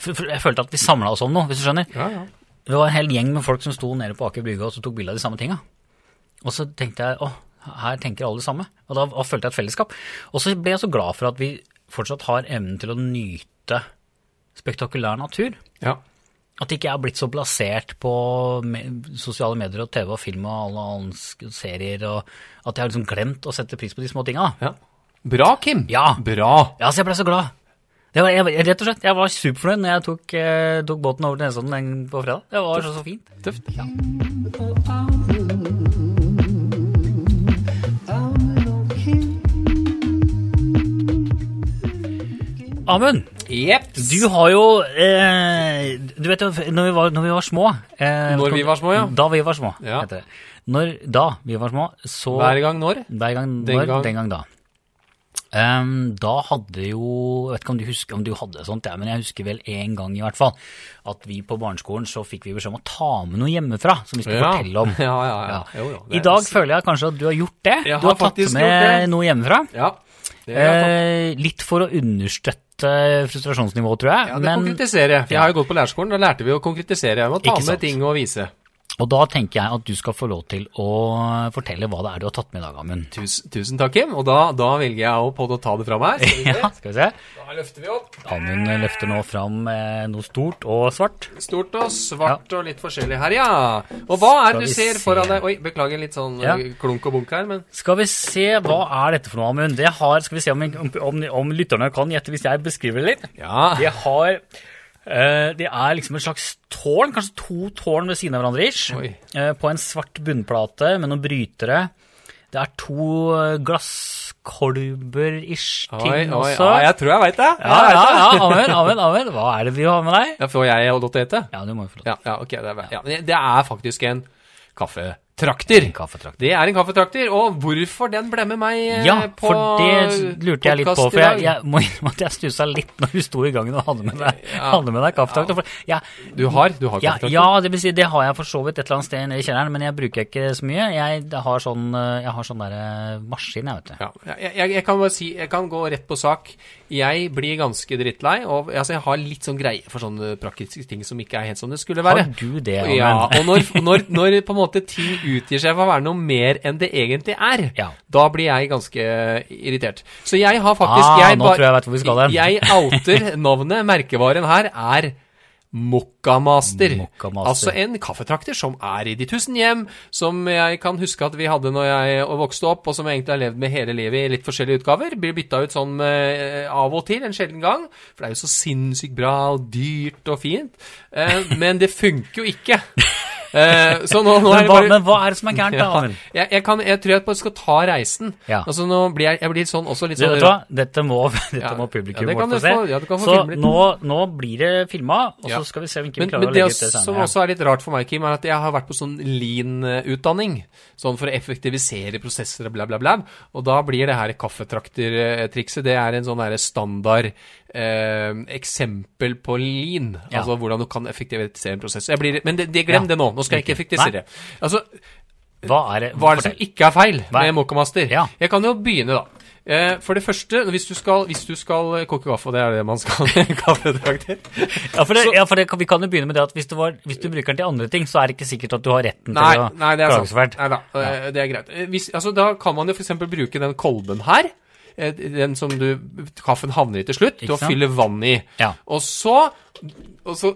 Speaker 1: for- for Jeg følte at vi samla oss om noe, hvis du skjønner.
Speaker 2: Ja, ja.
Speaker 1: Det var en hel gjeng med folk som sto nede på Aker Brygge og så tok bilde av de samme tinga. Og så tenkte jeg åh, her tenker alle det samme. Og da da følte jeg et fellesskap. Og så ble jeg så glad for at vi fortsatt har evnen til å nyte spektakulær natur.
Speaker 2: ja.
Speaker 1: At ikke jeg har blitt så plassert på me- sosiale medier og TV og film og alle andre serier, og at jeg har liksom glemt å sette pris på de små tinga.
Speaker 2: ja. Bra, Kim.
Speaker 1: Ja.
Speaker 2: Bra.
Speaker 1: Ja, så jeg ble så glad. Det var, jeg, rett og slett, jeg var superfornøyd når jeg tok, eh, tok båten over til Nesodden den på fredag. Det var så, så fint.
Speaker 2: Tøft.
Speaker 1: Amund! Du har jo eh, Du vet jo, når vi var, når vi var små eh,
Speaker 2: Når vi var små, ja.
Speaker 1: Da vi var små,
Speaker 2: Ja.
Speaker 1: heter det. Når da vi var små, så
Speaker 2: Hver gang når?
Speaker 1: hver gang
Speaker 2: Den
Speaker 1: når,
Speaker 2: gang.
Speaker 1: den gang da. Ehm, da hadde jo Jeg vet ikke om du husker om du hadde sånt, ja, men jeg husker vel én gang i hvert fall at vi på barneskolen så fikk vi beskjed om å ta med noe hjemmefra som vi skulle
Speaker 2: Ja.
Speaker 1: fortelle om.
Speaker 2: Ja, ja, ja. Jo, jo, det
Speaker 1: I
Speaker 2: er-
Speaker 1: dag føler jeg kanskje at du har gjort det.
Speaker 2: Jeg
Speaker 1: du
Speaker 2: har
Speaker 1: har tatt
Speaker 2: faktisk gjort
Speaker 1: med
Speaker 2: det.
Speaker 1: noe hjemmefra.
Speaker 2: Ja. Det er sant.
Speaker 1: Eh, litt for å understøtte frustrasjonsnivået, tror jeg.
Speaker 2: ja, det
Speaker 1: men
Speaker 2: konkretisere. For jeg har jo gått på lærerskolen, da lærte vi å konkretisere. Jeg må ta
Speaker 1: Ikke sant.
Speaker 2: med ting og vise.
Speaker 1: Og da tenker jeg at du skal få lov til å fortelle hva det er du har tatt med i dag, Amund.
Speaker 2: Tusen, tusen takk, Kim. Og da, da velger jeg å på å ta det fram her. Skal vi se.
Speaker 1: Ja, skal vi se.
Speaker 2: Da løfter vi opp.
Speaker 1: Amund løfter nå fram eh, noe stort og svart.
Speaker 2: Stort og svart og litt forskjellig her, ja. Og hva er
Speaker 1: Skal
Speaker 2: det du
Speaker 1: vi
Speaker 2: ser
Speaker 1: se.
Speaker 2: foran deg? Oi, beklager litt sånn
Speaker 1: Ja.
Speaker 2: eh, klunk og bunk her, men
Speaker 1: Skal vi se, hva er dette for noe, Amund? Det har, skal vi se om, om, om lytterne kan gjette hvis jeg beskriver det litt.
Speaker 2: Ja.
Speaker 1: Det har eh, Det er liksom et slags tårn, kanskje to tårn ved siden av hverandre ish.
Speaker 2: Oi.
Speaker 1: eh, på en svart bunnplate med noen brytere. Det er to eh, glasskolber ish ting
Speaker 2: Oi, oi,
Speaker 1: også.
Speaker 2: ja, jeg tror jeg veit det. jeg
Speaker 1: Ja, ja,
Speaker 2: vet det.
Speaker 1: ja, Amund, Amund, Amund, hva er det vi har med deg?
Speaker 2: Ja, får jeg holde til å hete?
Speaker 1: Ja, du må jo få lov til
Speaker 2: Ja, ja, ok. Det er, ja. men Det er faktisk en kaffetrakter.
Speaker 1: kaffetrakt.
Speaker 2: Det er en kaffetrakter, og hvorfor den ble med meg eh,
Speaker 1: Ja,
Speaker 2: på
Speaker 1: for det lurte jeg litt på,
Speaker 2: podcast
Speaker 1: for
Speaker 2: i
Speaker 1: jeg,
Speaker 2: dag?
Speaker 1: jeg må innrømme at jeg stussa litt når du sto i gangen og hadde med deg, hadde med deg kaffetrakt. For jeg,
Speaker 2: Du har, du har
Speaker 1: ja,
Speaker 2: kaffetrakter?
Speaker 1: ja, det vil si, det har jeg for så vidt et eller annet sted nede i kjelleren, men jeg bruker ikke så mye. Jeg har sånn, eh, jeg har sånn derre maskin, jeg, vet du.
Speaker 2: Ja, jeg, jeg, jeg kan bare si, jeg kan gå rett på sak. Jeg blir ganske drittlei, og altså, jeg har litt sånn greie for sånne praktiske ting som ikke er helt som det skulle være.
Speaker 1: Har du det, Amund?
Speaker 2: Ja, og når, når, når på en måte ting utgir seg for å være noe mer enn det egentlig er,
Speaker 1: Ja.
Speaker 2: da blir jeg ganske irritert. Så jeg har faktisk
Speaker 1: Ah,
Speaker 2: jeg
Speaker 1: nå
Speaker 2: ba-
Speaker 1: tror jeg vet hvor vi skal hen.
Speaker 2: Jeg outer navnet, merkevaren her er Mokkamaster.
Speaker 1: Mokkamaster.
Speaker 2: Altså en kaffetrakter som er i de tusen hjem, som jeg kan huske at vi hadde når jeg vokste opp, og som jeg egentlig har levd med hele livet i litt forskjellige utgaver. Blir bytta ut sånn eh, av og til, en sjelden gang. For det er jo så sinnssykt bra og dyrt og fint. Eh, men det funker jo ikke. Eh, så nå, nå er
Speaker 1: Men
Speaker 2: det
Speaker 1: hva,
Speaker 2: bare
Speaker 1: men hva er det som er gærent, da?
Speaker 2: ja,
Speaker 1: Amund?
Speaker 2: jeg, jeg, kan, jeg tror jeg bare skal ta reisen.
Speaker 1: Ja.
Speaker 2: Altså nå blir jeg, jeg blir sånn, også litt
Speaker 1: Du,
Speaker 2: sånn
Speaker 1: vet du hva? Dette må, dette
Speaker 2: Ja.
Speaker 1: må
Speaker 2: Ja,
Speaker 1: publikum
Speaker 2: det kan
Speaker 1: vårt
Speaker 2: du
Speaker 1: få se.
Speaker 2: få- ja, du kan få
Speaker 1: så
Speaker 2: filme litt.
Speaker 1: nå, nå blir det filma, og
Speaker 2: Ja.
Speaker 1: så skal vi se om ikke vi
Speaker 2: Men,
Speaker 1: klarer
Speaker 2: men
Speaker 1: å
Speaker 2: det
Speaker 1: legge ut
Speaker 2: også,
Speaker 1: det
Speaker 2: som
Speaker 1: senere.
Speaker 2: også er litt rart for meg, Kim, er at jeg har vært på sånn lean-utdanning. Sånn for å effektivisere prosesser og bla, bla, bla. Og da blir det her kaffetrakter-trikset Det er en sånn der standard eh, eksempel på lean.
Speaker 1: Ja.
Speaker 2: Altså hvordan du kan effektivisere en prosess. Jeg blir, men det, det glem
Speaker 1: Ja,
Speaker 2: det nå. Nå skal jeg ikke
Speaker 1: riktig.
Speaker 2: effektivisere. Altså,
Speaker 1: Hva er det,
Speaker 2: hva er det som
Speaker 1: fortell.
Speaker 2: ikke er feil
Speaker 1: Hva er-
Speaker 2: med Mokkamaster?
Speaker 1: Ja.
Speaker 2: Jeg kan jo begynne, da. Eh, For det første, hvis du skal, hvis du skal eh, koke kaffe, og det er det man skal kaffetrakter
Speaker 1: Ja, for, det, ja, for det, kan- Vi kan jo begynne med det at hvis du, var, hvis du bruker den til andre ting, så er det ikke sikkert at du har retten
Speaker 2: Nei,
Speaker 1: til å
Speaker 2: nei, det er sant.
Speaker 1: klagesverd.
Speaker 2: Nei da, eh, det er greit. Eh, Hvis, altså, da kan man jo f.eks. bruke den kolben her. eh, Den som du, kaffen havner i til slutt, til å
Speaker 1: sant?
Speaker 2: fylle vann i.
Speaker 1: Ja.
Speaker 2: Og så og så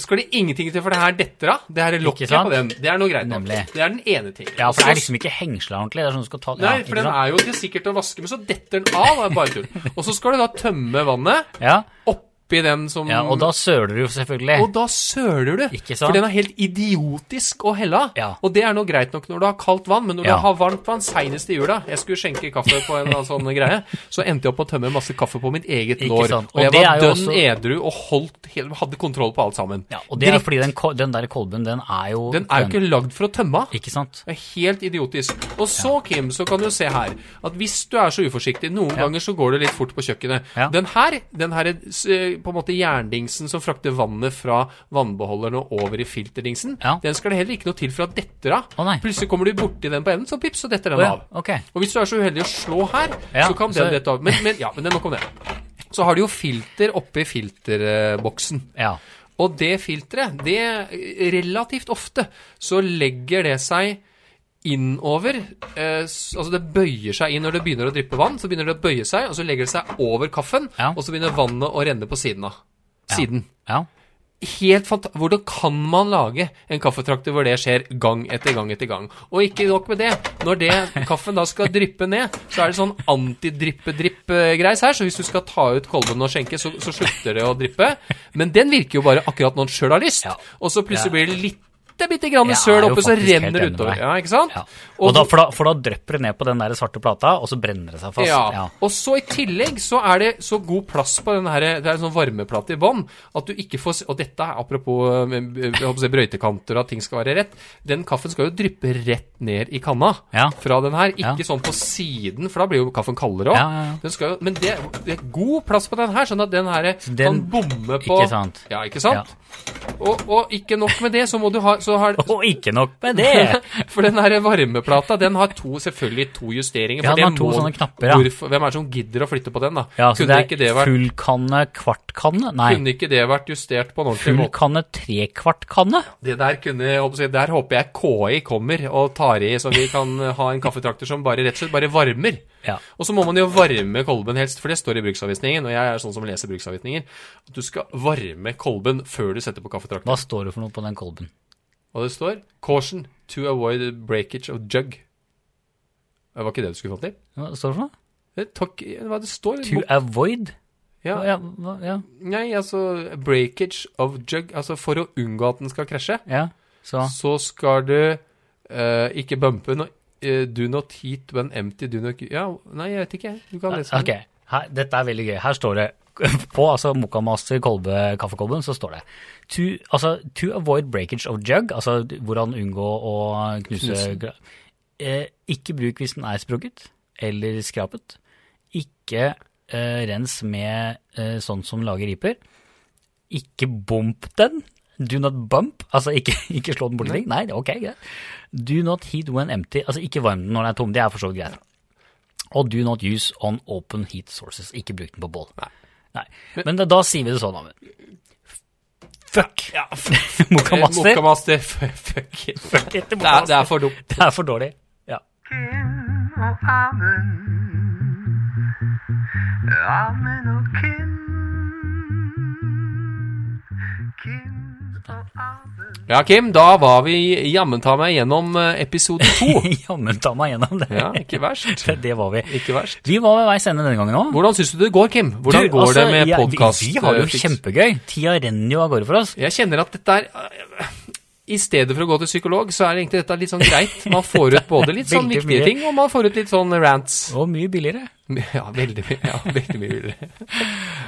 Speaker 2: skal det ingenting til, for det her detter av. Det her lokket
Speaker 1: sant?
Speaker 2: på den. Det er noe greit nok.
Speaker 1: Nemlig.
Speaker 2: Det er den ene tingen.
Speaker 1: Ja, for
Speaker 2: Så-
Speaker 1: det er liksom ikke hengsla ordentlig. Det er sånn du skal ta
Speaker 2: Nei,
Speaker 1: ja,
Speaker 2: for
Speaker 1: ikke
Speaker 2: den
Speaker 1: sant?
Speaker 2: er jo til sikkert å vaske, men så detter den av. Det er bare tull. Og så skal du da tømme vannet
Speaker 1: ja.
Speaker 2: oppi den som
Speaker 1: ja, og da søler du jo selvfølgelig.
Speaker 2: Og da søler du.
Speaker 1: Eh. Ikke sant?
Speaker 2: For den er helt idiotisk å helle av.
Speaker 1: Ja.
Speaker 2: Og det er nå greit nok når du har kaldt vann, men når
Speaker 1: Ja.
Speaker 2: du har varmt vann seinest i jula Jeg skulle skjenke kaffe på en eller annen sånn greie, så endte jeg opp med å tømme masse kaffe på mitt eget
Speaker 1: Ikke
Speaker 2: lår.
Speaker 1: sant?
Speaker 2: Og,
Speaker 1: Og
Speaker 2: jeg
Speaker 1: det
Speaker 2: var
Speaker 1: er jo
Speaker 2: dønn
Speaker 1: også-
Speaker 2: edru og holdt, hel- hadde kontroll på alt sammen.
Speaker 1: ja, og det er
Speaker 2: Dritt.
Speaker 1: fordi den, ko- den der kolben, den er jo
Speaker 2: Den er jo ikke lagd for å tømme av.
Speaker 1: ikke sant?
Speaker 2: Det er helt idiotisk. Og så, Kim, så kan du se her at hvis du er så uforsiktig Noen ganger så går det litt fort på kjøkkenet.
Speaker 1: Ja.
Speaker 2: Den her, den her s- på en måte jerndingsen som frakter vannet fra vannbeholderen og over i filterdingsen,
Speaker 1: Ja.
Speaker 2: den skal det heller ikke noe til for at detter av.
Speaker 1: Å, nei.
Speaker 2: Plutselig kommer du borti den på enden, så pips, så detter den
Speaker 1: Å ja,
Speaker 2: av.
Speaker 1: ok.
Speaker 2: Og hvis du er så uheldig å slå her,
Speaker 1: Ja,
Speaker 2: så kan
Speaker 1: så-
Speaker 2: den dette av. Men, men, ja, men det er nok om det. Så har du jo filter oppi filterboksen.
Speaker 1: Ja.
Speaker 2: Og det filteret, det relativt ofte, så legger det seg innover eh, s- Altså det bøyer seg inn når det begynner å dryppe vann. Så begynner det å bøye seg, og så legger det seg over kaffen,
Speaker 1: Ja.
Speaker 2: og så begynner vannet å renne på siden av. Siden.
Speaker 1: ja.
Speaker 2: Helt fanta Hvordan kan man lage en kaffetrakter hvor det skjer gang etter gang etter gang? Og ikke nok med det. Når det, kaffen da skal dryppe ned, så er det sånn antidryppe-drypp-greis her. Så hvis du skal ta ut kolben og skjenke, så, så slutter det å dryppe. Men den virker jo bare akkurat når den sjøl har lyst.
Speaker 1: Ja.
Speaker 2: Og så plutselig
Speaker 1: Ja.
Speaker 2: blir det lite bitte grann
Speaker 1: Jeg er
Speaker 2: søl
Speaker 1: jo
Speaker 2: oppi, så
Speaker 1: faktisk helt
Speaker 2: renner det
Speaker 1: enig med
Speaker 2: utover.
Speaker 1: deg.
Speaker 2: Ja, ikke sant?
Speaker 1: Ja. Og da, for, da, for da drypper det ned på den der svarte plata, og så brenner det seg fast.
Speaker 2: Ja.
Speaker 1: Ja.
Speaker 2: Og så i tillegg så er det så god plass på den her Det er en sånn varmeplate i bånn at du ikke får se- Og dette er apropos eh, jeg håper å si, brøytekanter og at ting skal være rett. Den kaffen skal jo dryppe rett ned i kanna
Speaker 1: Ja.
Speaker 2: fra den her. Ikke
Speaker 1: Ja.
Speaker 2: sånn på siden, for da blir jo kaffen kaldere
Speaker 1: Ja, ja, ja.
Speaker 2: òg. jo Men det, det er god plass på den her, sånn at den her kan
Speaker 1: den-
Speaker 2: bomme på
Speaker 1: ikke sant.
Speaker 2: Ja, ikke sant? Og, og ikke nok med det, så må du ha så har,
Speaker 1: Og ikke nok med det!
Speaker 2: for den her varmeplata den har to, selvfølgelig to justeringer.
Speaker 1: Ja,
Speaker 2: for
Speaker 1: den har
Speaker 2: det
Speaker 1: to
Speaker 2: må-
Speaker 1: sånne knapper, ja.
Speaker 2: Hvorfor, hvem er det som gidder å flytte på den, da?
Speaker 1: Ja, så
Speaker 2: kunne,
Speaker 1: det
Speaker 2: ikke det
Speaker 1: er
Speaker 2: vært,
Speaker 1: full kanne, kvart kanne? Nei,
Speaker 2: kunne ikke det vært justert på en ordentlig
Speaker 1: full
Speaker 2: måte?
Speaker 1: kanne, trekvart kanne?
Speaker 2: Det der kunne, jeg håper å si, der håper jeg KI kommer og tar i, så vi kan ha en kaffetrakter som bare rett og slett bare varmer.
Speaker 1: Ja.
Speaker 2: Og så må man jo varme kolben helst, for det står i bruksanvisningen, og jeg er sånn som leser bruksanvisninger, at du skal varme kolben før du setter på kaffetrakter.
Speaker 1: Hva står det for noe på den kolben?
Speaker 2: Og det står 'Caution to avoid breakage of jug'. Det var ikke det du skulle fram til?
Speaker 1: Hva står det for noe?
Speaker 2: Det tar ikke- Hva det står?
Speaker 1: To avoid?
Speaker 2: Ja,
Speaker 1: Ja, hva- ja,
Speaker 2: Nei, altså breakage of jug. Altså for å unngå at den skal krasje,
Speaker 1: ja. Så
Speaker 2: så skal du eh, ikke bumpe den. og, eh, do not heat when empty, do not Ja, nei, jeg vet ikke. jeg. Du kan lese
Speaker 1: eh,
Speaker 2: Eh,
Speaker 1: Ok, her, dette er veldig gøy. Her står det på altså Mokamaster kolbe, kaffekolben så står det to, altså, to avoid breakage of jug, altså hvordan unngå å knuse
Speaker 2: Knuse.
Speaker 1: eh, Ikke bruk hvis den er sprukket eller skrapet. Ikke eh, rens med eh, sånn som lager riper. Ikke bump den. Do not bump. Altså ikke, ikke slå den borti ting. Nei, det er ok, greit. Do not heat when empty. Altså ikke varm den når den er tom. Det er for så vidt greit. Og do not use on open heat sources. Ikke bruk den på bål. Nei. Men, da, da sier vi det sånn, Amund. Fuck! Ja, Mokamaster.
Speaker 2: Mokamaster. Fuck it. Det
Speaker 1: Fuck etter
Speaker 2: er, det
Speaker 1: Mokamaster.
Speaker 2: er for dumt.
Speaker 1: Det er for dårlig. Ja.
Speaker 3: Kim oh, og Amund. Amund og oh, Kim. Kim oh, og Amund.
Speaker 2: Ja, Kim, da var vi jammen ta meg gjennom eh, episode to.
Speaker 1: Jammen ta meg gjennom det.
Speaker 2: Ja, ikke verst.
Speaker 1: Det- Det var vi.
Speaker 2: Ikke verst.
Speaker 1: Vi var ved veis ende denne gangen Altså, òg.
Speaker 2: Hvordan syns du altså, det går, Kim? Hvordan går det med eh, podkast?
Speaker 1: Vi, vi har det jo kjempegøy. Tida renner jo av gårde for oss.
Speaker 2: Jeg kjenner at dette er eh, i stedet for å gå til psykolog, så er egentlig dette litt sånn greit. Man får ut både litt sånn
Speaker 1: Veldig
Speaker 2: viktige
Speaker 1: mye.
Speaker 2: ting, og man får ut litt sånn rants.
Speaker 1: Og mye billigere.
Speaker 2: Ja, veldig mye. Ja, veldig mye. billigere.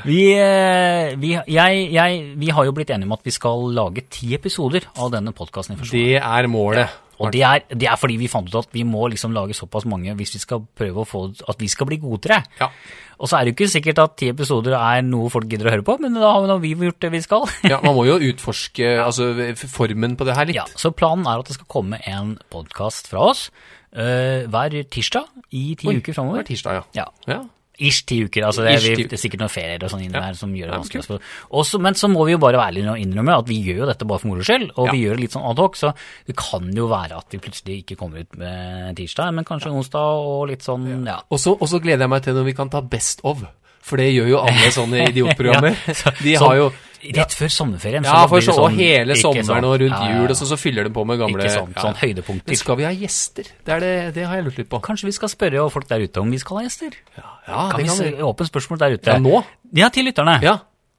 Speaker 1: Vi, eh, vi, jeg, jeg, vi har jo blitt enige om at vi skal lage ti episoder av denne podkasten.
Speaker 2: Det er målet.
Speaker 1: Og det er, det er fordi vi fant ut at vi må liksom lage såpass mange hvis vi skal prøve å få at vi skal bli gode til det.
Speaker 2: Ja.
Speaker 1: Og så er det jo ikke sikkert at ti episoder er noe folk gidder å høre på, men da har vi, nå vi gjort det vi skal.
Speaker 2: ja, man må jo utforske altså, formen på det her litt.
Speaker 1: Ja, så planen er at det skal komme en podkast fra oss eh, hver tirsdag i ti
Speaker 2: Oi,
Speaker 1: uker
Speaker 2: Hver
Speaker 1: framover.
Speaker 2: Mm. tirsdag, ja.
Speaker 1: Ja,
Speaker 2: ja.
Speaker 1: Ish ti uker. altså Det er,
Speaker 2: Ish ti
Speaker 1: vi,
Speaker 2: uker.
Speaker 1: det er sikkert noen ferier og sånn inni der som gjør det
Speaker 2: Ja, men
Speaker 1: vanskelig. å spå. Også, men så må vi jo bare være ærlige og innrømme at vi gjør jo dette bare for moro skyld, og
Speaker 2: Ja.
Speaker 1: vi gjør det litt sånn adhoc, så det kan jo være at vi plutselig ikke kommer ut med tirsdag, men kanskje onsdag og litt sånn, ja.
Speaker 2: Og så og så gleder jeg meg til når vi kan ta Best of. For det gjør jo alle sånne idiotprogrammer. De har jo
Speaker 1: Rett før sommerferien.
Speaker 2: Ja, for
Speaker 1: blir det
Speaker 2: så, og
Speaker 1: sånn-
Speaker 2: hele
Speaker 1: ikke
Speaker 2: sommeren
Speaker 1: sånn-
Speaker 2: og rundt
Speaker 1: ja, ja,
Speaker 2: jul,
Speaker 1: ja.
Speaker 2: og så, så fyller de på med gamle
Speaker 1: Ikke sånn, sånn
Speaker 2: ja. Men
Speaker 1: høydepunkter.
Speaker 2: skal vi ha gjester? Det, er det, det har jeg lurt litt på.
Speaker 1: Kanskje vi skal spørre folk der ute om vi skal ha gjester?
Speaker 2: Ja,
Speaker 1: Kan
Speaker 2: det
Speaker 1: vi
Speaker 2: kan vi.
Speaker 1: se- åpent spørsmål der ute?
Speaker 2: Ja, nå?
Speaker 1: Ja, til lytterne.
Speaker 2: Ja.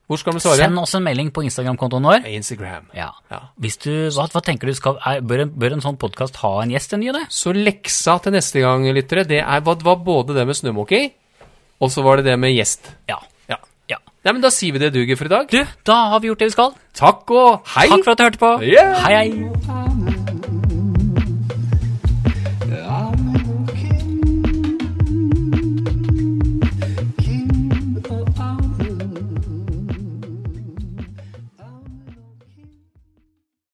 Speaker 2: Hvor skal vi svare?
Speaker 1: Send oss en melding på Instagram-kontoen vår.
Speaker 2: Instagram.
Speaker 1: Ja.
Speaker 2: Ja.
Speaker 1: Hvis du, hva, hva tenker du, skal, er, bør, en, bør en sånn podkast ha en gjest, en ny og det?
Speaker 2: Så leksa til neste gang, lyttere, det er, var, var både det med snømåking, og så var det det med gjest.
Speaker 1: Ja.
Speaker 2: Ja.
Speaker 1: ja.
Speaker 2: Nei, men da sier vi det duger for i dag.
Speaker 1: Du, da har vi gjort det vi skal.
Speaker 2: Takk og hei!
Speaker 1: Takk for at du hørte på.
Speaker 2: Ja.
Speaker 1: Hei, hei.
Speaker 3: Hei.